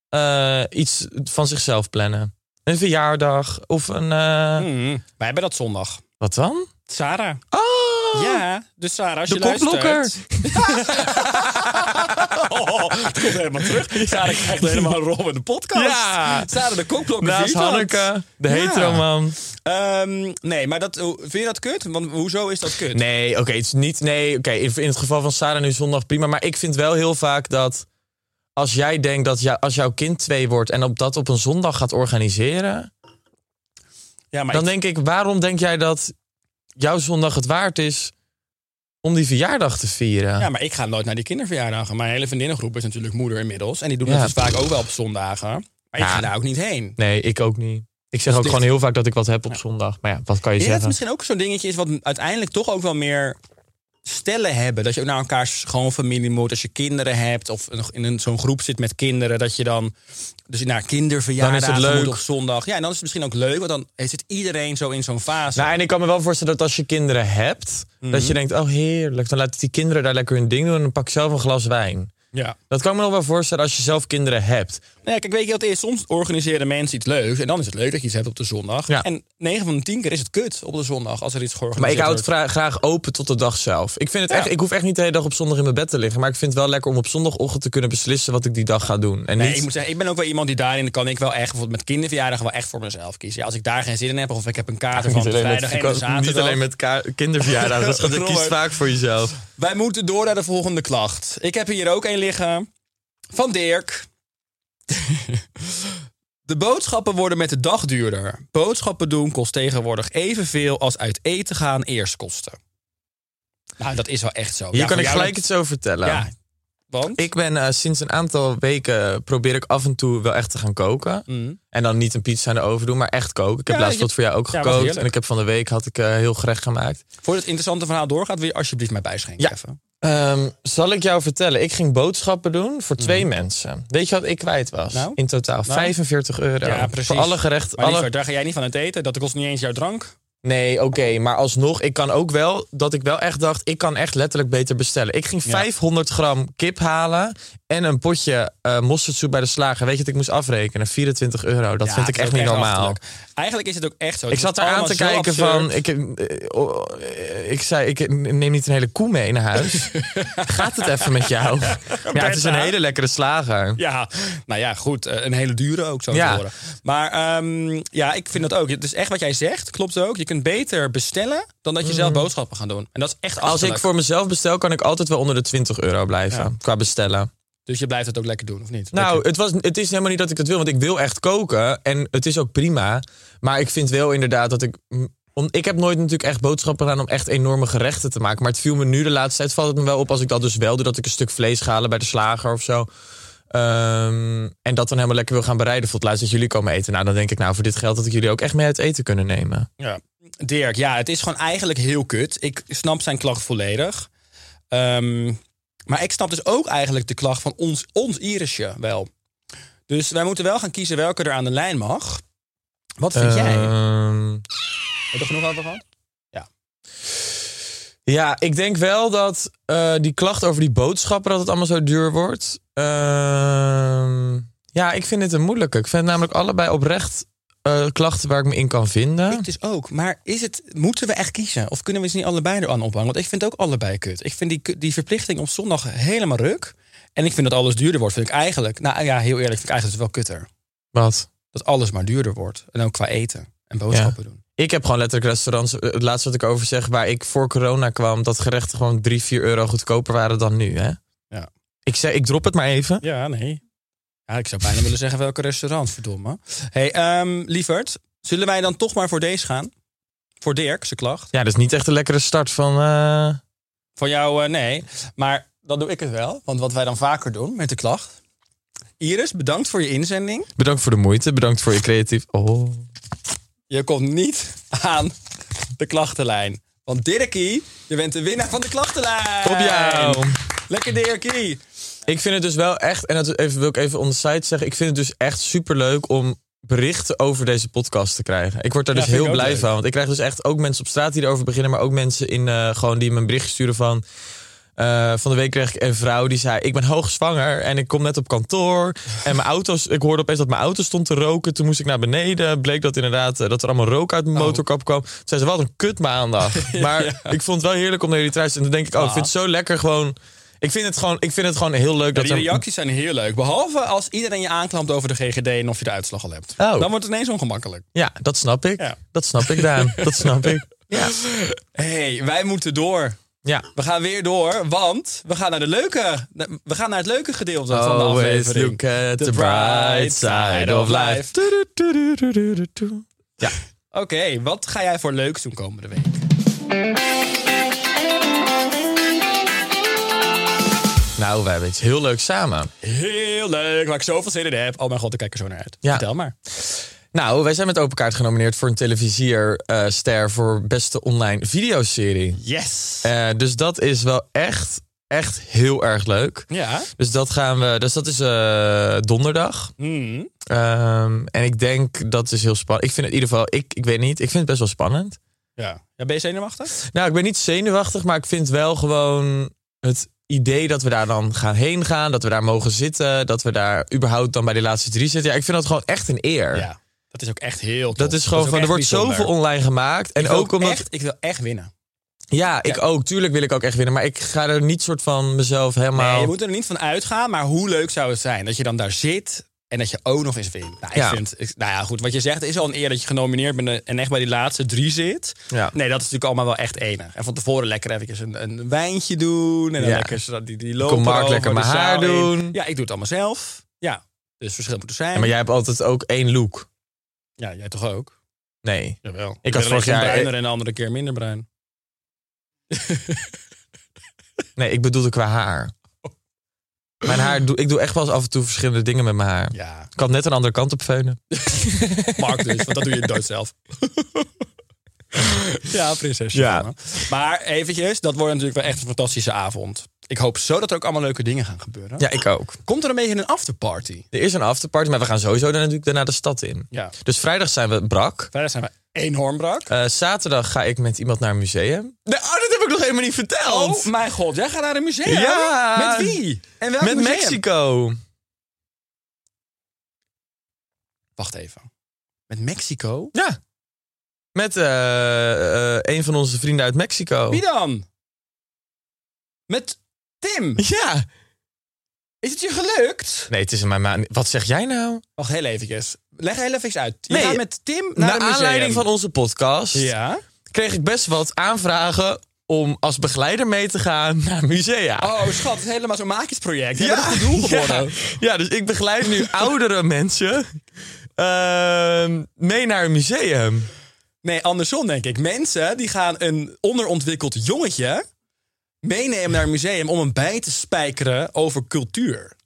S2: eh, iets van zichzelf plannen. Een verjaardag of een... eh,
S1: Hmm, wij hebben dat zondag.
S2: Wat dan?
S1: Sarah.
S2: Oh!
S1: Ja, dus Sarah, als
S2: De
S1: je luistert...
S2: (laughs) kopblokker.
S1: (laughs) oh, het komt helemaal terug. Sarah krijgt helemaal een rol in de podcast.
S2: Ja.
S1: Sarah, de kopblokker.
S2: (laughs) Naast
S1: zie je dat?
S2: Hanneke, de
S1: Ja.
S2: heteroman.
S1: Ehm, nee, maar dat, hoe- vind je dat kut? Want hoezo is dat kut?
S2: Nee, oké, het is niet. Nee, oké, in, in het geval van Sarah nu zondag prima. Maar ik vind wel heel vaak dat als jij denkt dat jou- als jouw kind twee wordt en op dat op een zondag gaat organiseren,
S1: Ja, maar
S2: dan
S1: ik-
S2: denk ik, waarom denk jij dat jouw zondag het waard is om die verjaardag te vieren?
S1: Ja, maar ik ga nooit naar die kinderverjaardagen. Mijn hele vriendinnengroep is natuurlijk moeder inmiddels. En die doen
S2: Ja.
S1: dat dus vaak ook wel op zondagen. Maar ik
S2: Ja.
S1: ga daar ook niet heen.
S2: Nee, ik ook niet. Ik zeg ook
S1: ligt-
S2: gewoon heel vaak dat ik wat heb op zondag. Maar ja, wat kan
S1: Ik denk
S2: je
S1: dat het
S2: zeggen?
S1: misschien ook zo'n dingetje is wat uiteindelijk toch ook wel meer stellen hebben. Dat je ook naar elkaars schoonfamilie moet. Als je kinderen hebt of een- in een- zo'n groep zit met kinderen. Dat je dan dus naar
S2: Dan is het
S1: kinderverjaardagen
S2: leuk.
S1: moet op zondag. Ja, en dan is het misschien ook leuk. Want dan zit iedereen zo in zo'n fase.
S2: Nou, en ik kan me wel voorstellen dat als je kinderen hebt, dat
S1: Mhm.
S2: je denkt, oh heerlijk, dan laat ik die kinderen daar lekker hun ding doen en dan pak ik zelf een glas wijn.
S1: ja.
S2: Dat kan ik me nog wel voorstellen als je zelf kinderen hebt.
S1: Nou ja, kijk, weet je wat het is? Soms organiseren mensen iets leuks. En dan is het leuk dat je iets hebt op de zondag.
S2: Ja.
S1: En 9 van de 10 keer is het kut op de zondag als er iets georganiseerd
S2: Maar ik hou
S1: wordt.
S2: het vra- graag open tot de dag zelf. Ik, vind het
S1: Ja.
S2: echt, ik hoef echt niet de hele dag op zondag in mijn bed te liggen. Maar ik vind het wel lekker om op zondagochtend te kunnen beslissen wat ik die dag ga doen. En
S1: Nee,
S2: niet,
S1: ik moet zeggen, ik ben ook wel iemand die daarin kan ik wel echt bijvoorbeeld met kinderverjaardagen wel echt voor mezelf kiezen. Ja, als ik daar geen zin in heb of ik heb een kater van
S2: niet alleen met,
S1: vrijdag en een zaterdag.
S2: niet alleen met ka- kinderverjaardagen. Dat is gewoon, je kiest
S1: Robert.
S2: vaak voor jezelf.
S1: Wij moeten door naar de volgende klacht. Ik heb hier ook een liggen van Dirk. (laughs) De boodschappen worden met de dag duurder. Boodschappen doen kost tegenwoordig evenveel als uit eten gaan eerst kosten. Nou, dat is wel echt zo.
S2: Hier
S1: Ja,
S2: kan
S1: voor
S2: ik
S1: jou
S2: gelijk
S1: dat-
S2: iets over vertellen.
S1: Ja, want?
S2: Ik ben eh, sinds een aantal weken probeer ik af en toe wel echt te gaan koken. En dan niet een pizza aan de oven doen, maar echt koken. Ik
S1: Mm.
S2: heb
S1: Ja,
S2: laatst
S1: je-
S2: wat voor jou ook
S1: Ja, was
S2: gekookt.
S1: heerlijk.
S2: En ik heb van de week had ik eh, heel gerecht gemaakt.
S1: Voor het interessante verhaal doorgaat, wil je alsjeblieft mij bijschenken.
S2: Ja.
S1: even.
S2: Ehm, zal ik jou vertellen? Ik ging boodschappen doen voor twee mensen. Weet je wat ik kwijt was?
S1: Mhm. Nou?
S2: In totaal 45 euro.
S1: Ja, precies.
S2: Voor alle gerechten.
S1: Maar
S2: Alle...
S1: lieverd, daar ga jij niet van uit eten. Dat kost niet eens jouw drank.
S2: Nee, oké.
S1: Oh.
S2: maar alsnog, ik kan ook wel... Dat ik wel echt dacht, ik kan echt letterlijk beter bestellen. Ik ging 500 gram kip halen. En een potje eh mosterdsoep bij de slager. Weet je wat ik moest afrekenen? 24 euro. Dat
S1: Ja,
S2: vind
S1: het
S2: ik
S1: is
S2: echt
S1: ook
S2: niet normaal.
S1: achterlijk. Eigenlijk is het ook echt zo.
S2: Ik
S1: Het
S2: zat
S1: wordt
S2: eraan te
S1: allemaal zo
S2: kijken
S1: absurd.
S2: van... Ik, eh, oh, eh, ik zei, ik neem niet een hele koe mee naar
S1: (laughs)
S2: huis. Gaat het even met jou? Ja, het is een
S1: Bertha.
S2: hele lekkere slager.
S1: Ja, nou ja, goed. eh, Een hele dure ook, zo
S2: Ja.
S1: te horen. Maar ehm, ja, ik vind dat ook. Het is echt wat jij zegt, klopt ook. Je kunt beter bestellen dan dat je zelf boodschappen gaat doen. En dat is echt
S2: Mm. Als ik
S1: achterlijk.
S2: voor mezelf bestel, kan ik altijd wel onder de 20 euro blijven. Qua bestellen.
S1: Dus je blijft het ook lekker doen, of niet?
S2: Nou, het, was, het is helemaal niet dat ik dat wil, want ik wil echt koken. En het is ook prima. Maar ik vind wel inderdaad dat ik. mm, Om, ik heb nooit natuurlijk echt boodschappen gedaan om echt enorme gerechten te maken. Maar het viel me nu de laatste tijd valt het me wel op als ik dat dus wel doe. Dat ik een stuk vlees ga halen bij de slager of zo. Ehm, en dat dan helemaal lekker wil gaan bereiden. Voor het laatst dat jullie komen eten. Nou, dan denk ik nou voor dit geld dat ik jullie ook echt mee uit eten kunnen nemen.
S1: Ja. Dirk, ja, het is gewoon eigenlijk heel kut. Ik snap zijn klacht volledig. Ehm, maar ik snap dus ook eigenlijk de klacht van ons, ons Irisje wel. Dus wij moeten wel gaan kiezen welke er aan de lijn mag. Wat
S2: Eh.
S1: vind jij? Heb
S2: Ehm,
S1: je er genoeg over gehad?
S2: Ja, ik denk wel dat eh, die klacht over die boodschappen, dat het allemaal zo duur wordt. Ehm, ja, ik vind het een moeilijke. Ik vind het namelijk allebei oprecht eh, klachten waar ik me in kan vinden.
S1: Ik dus ook. Maar is het, moeten we echt kiezen? Of kunnen we ze niet allebei eraan ophangen? Want ik vind het ook allebei kut. Ik vind die, ku- die verplichting op zondag helemaal ruk. En ik vind dat alles duurder wordt, vind ik eigenlijk. Nou ja, heel eerlijk, vind ik eigenlijk het wel kutter.
S2: Wat?
S1: Dat alles maar duurder wordt. En ook qua eten en boodschappen doen.
S2: Ik heb gewoon letterlijk restaurants, eh, het laatste wat ik over zeg, waar ik voor corona kwam, dat gerechten gewoon 3, 4 euro goedkoper waren dan nu. Hè?
S1: Ja.
S2: Ik, zeg, ik drop het maar even.
S1: Ja, nee. Ja, ik zou bijna willen zeggen welke restaurant, verdomme. hey, ehm, lieverd, zullen wij dan toch maar voor deze gaan? Voor Dirk, zijn klacht.
S2: Ja, dat is niet echt een lekkere start van. eh,
S1: Voor jou, eh, nee. Maar dan doe ik het wel. Want wat wij dan vaker doen met de klacht. Iris, bedankt voor je inzending.
S2: Bedankt voor de moeite, bedankt voor je creatief. Oh.
S1: Je komt niet aan de klachtenlijn. Want Dirkie, je bent de winnaar van de klachtenlijn.
S2: Op jou.
S1: Lekker Dirkie.
S2: Ik Ik vind het dus wel echt, en dat even, wil ik even on the side zeggen, ik vind het dus echt superleuk om berichten over deze podcast te krijgen. Ik word daar
S1: Ja,
S2: dus
S1: vind
S2: heel
S1: ik ook
S2: blij
S1: leuk.
S2: van. Want ik krijg dus echt ook mensen op straat die erover beginnen, maar ook mensen in, eh, gewoon die me een berichtje sturen van... eh, van de week kreeg ik een vrouw die zei: Ik ben hoogzwanger en ik kom net op kantoor. En mijn auto's, ik hoorde opeens dat mijn auto stond te roken. Toen moest ik naar beneden. Bleek dat inderdaad eh, dat er allemaal rook uit mijn
S1: Oh.
S2: motorkap kwam. Toen zei ze: Wat een kut
S1: (laughs)
S2: maandag. Maar ik vond het wel heerlijk om naar jullie thuis te En dan denk ik: Oh, ik vind het zo lekker gewoon. Ik vind het gewoon, ik vind het gewoon heel leuk dat
S1: Ah. die
S2: er-
S1: reacties zijn heel leuk. Behalve als iedereen je aanklampt over de GGD en of je de uitslag al hebt.
S2: Oh.
S1: Dan wordt het ineens ongemakkelijk.
S2: Ja, dat snap ik.
S1: Ja.
S2: Dat snap ik, Daan. dat snap
S1: (laughs)
S2: ik. Ja.
S1: hey, wij moeten door.
S2: ja.
S1: We gaan weer door, want we gaan naar, de leuke, we gaan naar het leuke gedeelte van de
S2: Always
S1: aflevering.
S2: look at the bright side of life. Ja.
S1: Oké, wat ga jij voor leuks doen komende week?
S2: Nou, wij hebben iets heel leuks samen.
S1: Heel leuk, waar ik zoveel zin in heb. Oh mijn god, ik kijk er zo naar uit.
S2: Ja.
S1: Vertel maar.
S2: Nou, wij zijn met Open Kaart genomineerd voor een televisierster voor beste online videoserie.
S1: Yes!
S2: Eh, dus dat is wel echt, echt heel erg leuk.
S1: ja.
S2: Dus dat gaan we. Dus dat is eh, donderdag.
S1: Mm.
S2: Ehm, en ik denk dat is heel spannend. Ik vind het in ieder geval. Ik, ik weet niet. Ik vind het best wel spannend.
S1: ja. Ja, ben je zenuwachtig?
S2: Nou, ik ben niet zenuwachtig, maar ik vind wel gewoon het idee dat we daar dan gaan heen gaan, dat we daar mogen zitten, dat we daar überhaupt dan bij de laatste drie zitten. Ja, ik vind dat gewoon echt een eer.
S1: Ja. Dat is ook echt heel tof.
S2: Dat is gewoon
S1: ook
S2: van, er
S1: echt
S2: wordt
S1: bijzonder.
S2: zoveel online gemaakt. En
S1: Ik wil
S2: ook omdat.
S1: echt, ik wil echt winnen.
S2: Ja, ik ook. Tuurlijk wil ik ook echt winnen. Maar ik ga er niet soort van mezelf helemaal.
S1: Nee, je moet er niet van uitgaan, maar hoe leuk zou het zijn dat je dan daar zit en dat je ook nog eens wint. Nou, ik
S2: Ja.
S1: vind, ik- nou ja, goed, wat je zegt is al een eer dat je genomineerd bent en echt bij die laatste drie zit.
S2: Ja.
S1: Nee, dat is natuurlijk allemaal wel echt enig. En van tevoren lekker even een, een wijntje doen en dan
S2: Ja.
S1: lekker zo die, die lopen
S2: Mark
S1: over
S2: lekker
S1: de
S2: mijn haar
S1: zaal in.
S2: doen.
S1: Ja, ik doe het allemaal zelf. Ja, dus verschil moet er zijn.
S2: Ja, maar jij hebt altijd ook één look.
S1: Ja, jij toch ook?
S2: Nee.
S1: Jawel.
S2: had
S1: ben
S2: vorig
S1: alleen
S2: jaar-
S1: bruiner en de andere keer minder bruin.
S2: Nee, ik bedoelde qua
S1: (laughs)
S2: haar. Mijn haar, doe, ik doe echt wel eens af en toe verschillende dingen met mijn haar.
S1: Ja,
S2: Ik kan net een andere kant op
S1: (laughs)
S2: veunen.
S1: Mark dus, want dat doe je dood zelf. (laughs) ja, prinses.
S2: Ja.
S1: Johanna. Maar eventjes, dat wordt natuurlijk wel echt een fantastische avond. Ik hoop zo dat er ook allemaal leuke dingen gaan gebeuren.
S2: Ja, ik ook.
S1: Komt er een beetje een afterparty?
S2: Er is een afterparty, maar we gaan sowieso dan natuurlijk daarna de stad in.
S1: Ja.
S2: Dus vrijdag zijn we brak.
S1: Verder zijn we enorm brak.
S2: Eh, zaterdag ga ik met iemand naar een museum. oh, dat heb ik nog helemaal niet verteld.
S1: oh mijn god, jij gaat naar een museum?
S2: Ja.
S1: Met wie? En welk
S2: met
S1: museum?
S2: Mexico.
S1: Wacht even. Met Mexico?
S2: Ja. Met eh, eh, een van onze vrienden uit Mexico.
S1: Wie dan? Met Tim?
S2: Ja.
S1: Is het je gelukt?
S2: Nee, het is in mijn maan. Wat zeg jij nou?
S1: Wacht, heel eventjes. Leg heel even iets uit. Je
S2: Nee,
S1: gaat met Tim naar
S2: Naar
S1: een museum.
S2: aanleiding van onze podcast
S1: Ja?
S2: kreeg ik best wat aanvragen om als begeleider mee te gaan naar musea.
S1: Oh, schat, het is helemaal zo'n maakjesproject. Je hebt een goed doel
S2: (laughs) ja,
S1: geworden.
S2: ja, dus ik begeleid
S1: (laughs)
S2: nu oudere mensen ehm, mee naar een museum.
S1: Nee, andersom denk ik. Mensen die gaan een onderontwikkeld jongetje meenemen naar een museum om hem bij te spijkeren over cultuur.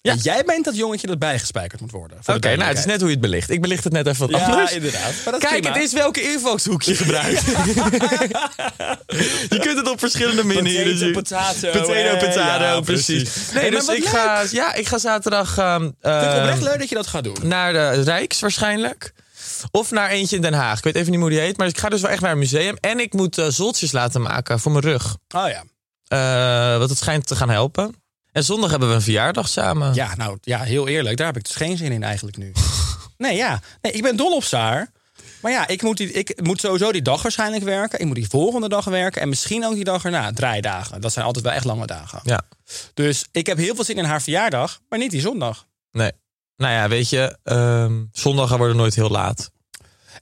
S1: Ja. jij bent dat jongetje dat bijgespijkerd moet worden.
S2: Oké, nou, het is net hoe je het belicht. Ik belicht het net even wat
S1: Ja,
S2: anders.
S1: inderdaad. Maar dat is
S2: Kijk,
S1: prima.
S2: het is welke invalshoek je gebruikt. (laughs) je kunt het op verschillende manieren
S1: Potato,
S2: zien.
S1: potato,
S2: potato,
S1: hè?
S2: potato,
S1: Ja,
S2: precies.
S1: precies.
S2: Nee,
S1: Hey, maar
S2: dus
S1: wat
S2: ik
S1: leuk.
S2: ga, ja, ik ga zaterdag
S1: Ik
S2: ehm,
S1: vind het
S2: ehm,
S1: oprecht leuk dat je dat gaat doen.
S2: naar de Rijks waarschijnlijk. Of naar eentje in Den Haag. Ik weet even niet hoe die heet. Maar ik ga dus wel echt naar een museum. En ik moet eh, zoltjes laten maken voor mijn rug.
S1: Oh ja.
S2: Eh wat het schijnt te gaan helpen. En zondag hebben we een verjaardag samen.
S1: Ja, nou, ja, heel eerlijk. Daar heb ik dus geen zin in eigenlijk nu. Nee, ja. Nee, ik ben dol op Saar. Maar ja, ik moet, die, ik moet sowieso die dag waarschijnlijk werken. Ik moet die volgende dag werken. En misschien ook die dag erna. Draaidagen. Dat zijn altijd wel echt lange dagen.
S2: Ja.
S1: Dus ik heb heel veel zin in haar verjaardag. Maar niet die zondag.
S2: Nee. Nou ja, weet je. ehm zondagen worden nooit heel laat.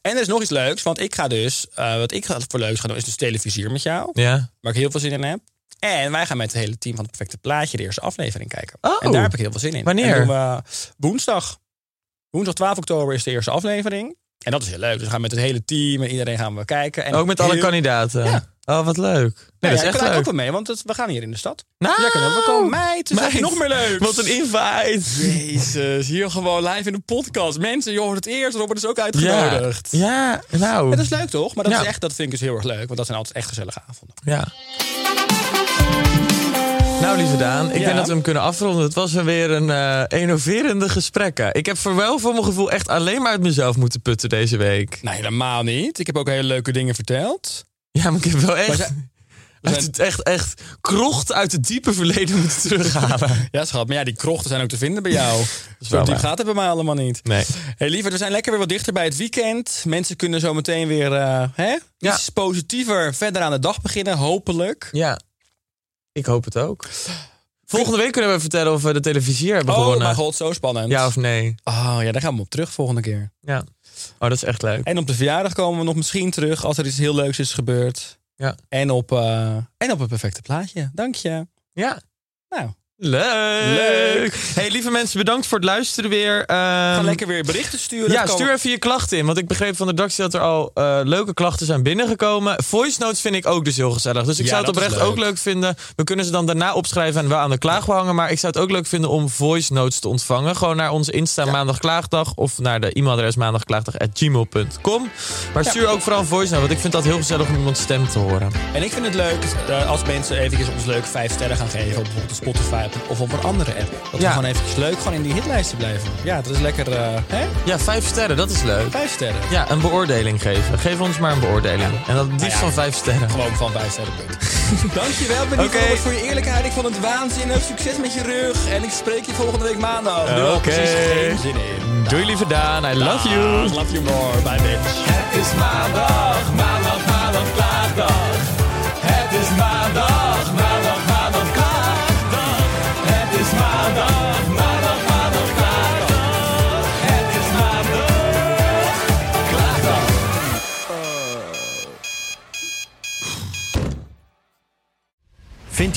S1: En er is nog iets leuks. Want ik ga dus... eh, wat ik ga- voor leuks ga doen is dus televisier met jou.
S2: Ja.
S1: Waar ik heel veel zin in heb. En wij gaan met het hele team van het Perfecte Plaatje de eerste aflevering kijken.
S2: Oh.
S1: En daar heb ik heel veel zin in.
S2: Wanneer?
S1: En doen we woensdag. Woensdag 12 oktober is de eerste aflevering. En dat is heel leuk. Dus we gaan met het hele team en iedereen gaan we kijken. En
S2: Ook met alle
S1: heel-
S2: kandidaten.
S1: Ja.
S2: Oh, wat leuk. Nee,
S1: Nou ja,
S2: dat is
S1: ik
S2: echt
S1: kan
S2: leuk.
S1: ook wel mee, want het- we gaan hier in de stad.
S2: Nou,
S1: Jij kan ook wel komen. Meid, dus dat is
S2: Meid,
S1: nog meer leuk.
S2: Wat een invite.
S1: Jezus, hier gewoon live in de podcast. Mensen, je hoort het eerst. Robert is ook
S2: Ja.
S1: uitgenodigd.
S2: ja, nou.
S1: Ja, dat is leuk toch? Maar dat,
S2: Ja.
S1: is echt, dat vind ik dus heel erg leuk. Want dat zijn altijd echt gezellige avonden.
S2: Ja. Nou, lieve Daan, ik
S1: Ja.
S2: denk dat we hem kunnen afronden. Het was weer een eh innoverende gesprek. hè. Ik heb voor wel voor mijn gevoel echt alleen maar uit mezelf moeten putten deze week.
S1: Nou, helemaal niet. Ik heb ook hele leuke dingen verteld.
S2: Ja, maar ik heb wel echt,
S1: Maar zij-
S2: (laughs) uit
S1: zijn-
S2: het, echt, echt krocht uit het diepe verleden moeten terughalen.
S1: Ja, schat. Maar ja, die krochten zijn ook te vinden bij
S2: (laughs)
S1: jou.
S2: wel
S1: Zo diep
S2: waar.
S1: gaat het bij mij allemaal niet.
S2: Nee.
S1: Hey, lieverd, we zijn lekker weer wat dichter bij het weekend. Mensen kunnen zo meteen weer eh, hè? iets
S2: Ja.
S1: positiever verder aan de dag beginnen, hopelijk.
S2: Ja, ik hoop het ook. Volgende week kunnen we vertellen of we de televisie hebben
S1: Oh
S2: gewonnen.
S1: mijn god, zo spannend.
S2: Ja of nee.
S1: Oh ja, daar gaan we op terug volgende keer.
S2: Ja. Oh, dat is echt leuk.
S1: En op de verjaardag komen we nog misschien terug als er iets heel leuks is gebeurd.
S2: Ja.
S1: En op, eh, en op het perfecte plaatje. Dank je.
S2: Ja.
S1: Nou,
S2: Leuk.
S1: Leuk.
S2: Hey, lieve mensen, bedankt voor het luisteren weer. Ehm,
S1: ga lekker weer berichten sturen.
S2: Ja,
S1: Dat kan-
S2: stuur even je klachten in. Want ik begreep van de redactie dat er al eh, leuke klachten zijn binnengekomen. Voice notes vind ik ook dus heel gezellig. Dus ik
S1: Ja,
S2: zou het
S1: dat is
S2: oprecht
S1: leuk.
S2: ook leuk vinden. We kunnen ze dan daarna opschrijven en wel aan de klaag hangen. Maar ik zou het ook leuk vinden om voice notes te ontvangen. Gewoon naar onze Insta maandag klaagdag. Of naar de e-mailadres maandagklaagdag.gmail.com. Maar stuur ook vooral een voice note. Want ik vind dat heel gezellig om iemands stem te horen.
S1: En ik vind het leuk eh, als mensen eventjes ons leuk vijf sterren gaan geven. Op bijvoorbeeld Spotify of op een andere app. Dat
S2: Ja.
S1: we gewoon eventjes leuk gewoon in die hitlijsten blijven. Ja, dat is lekker. eh, hè?
S2: Ja, vijf sterren, dat is leuk.
S1: Vijf sterren.
S2: Ja, een beoordeling geven. Geef ons maar een beoordeling. En dat liefst
S1: ja.
S2: van vijf sterren.
S1: Gewoon van vijf sterren.
S2: (laughs)
S1: punt. Dankjewel, Benny
S2: Oké.
S1: Robert, voor je eerlijkheid. Ik vond het waanzinnig. Succes met je rug. En ik spreek je volgende week maandag. Nu al
S2: Oké.
S1: precies geen zin in.
S2: Doei lieve Daan, I love you.
S1: Love you more. Bye, bitch.
S2: Het is maandag, maandag, maandag, klaagdag. Het is maandag, maandag, maandag, klaagdag. Het is maandag, maandag, maandag, klaagdag. Het is maandag, klaagdag.
S4: Vind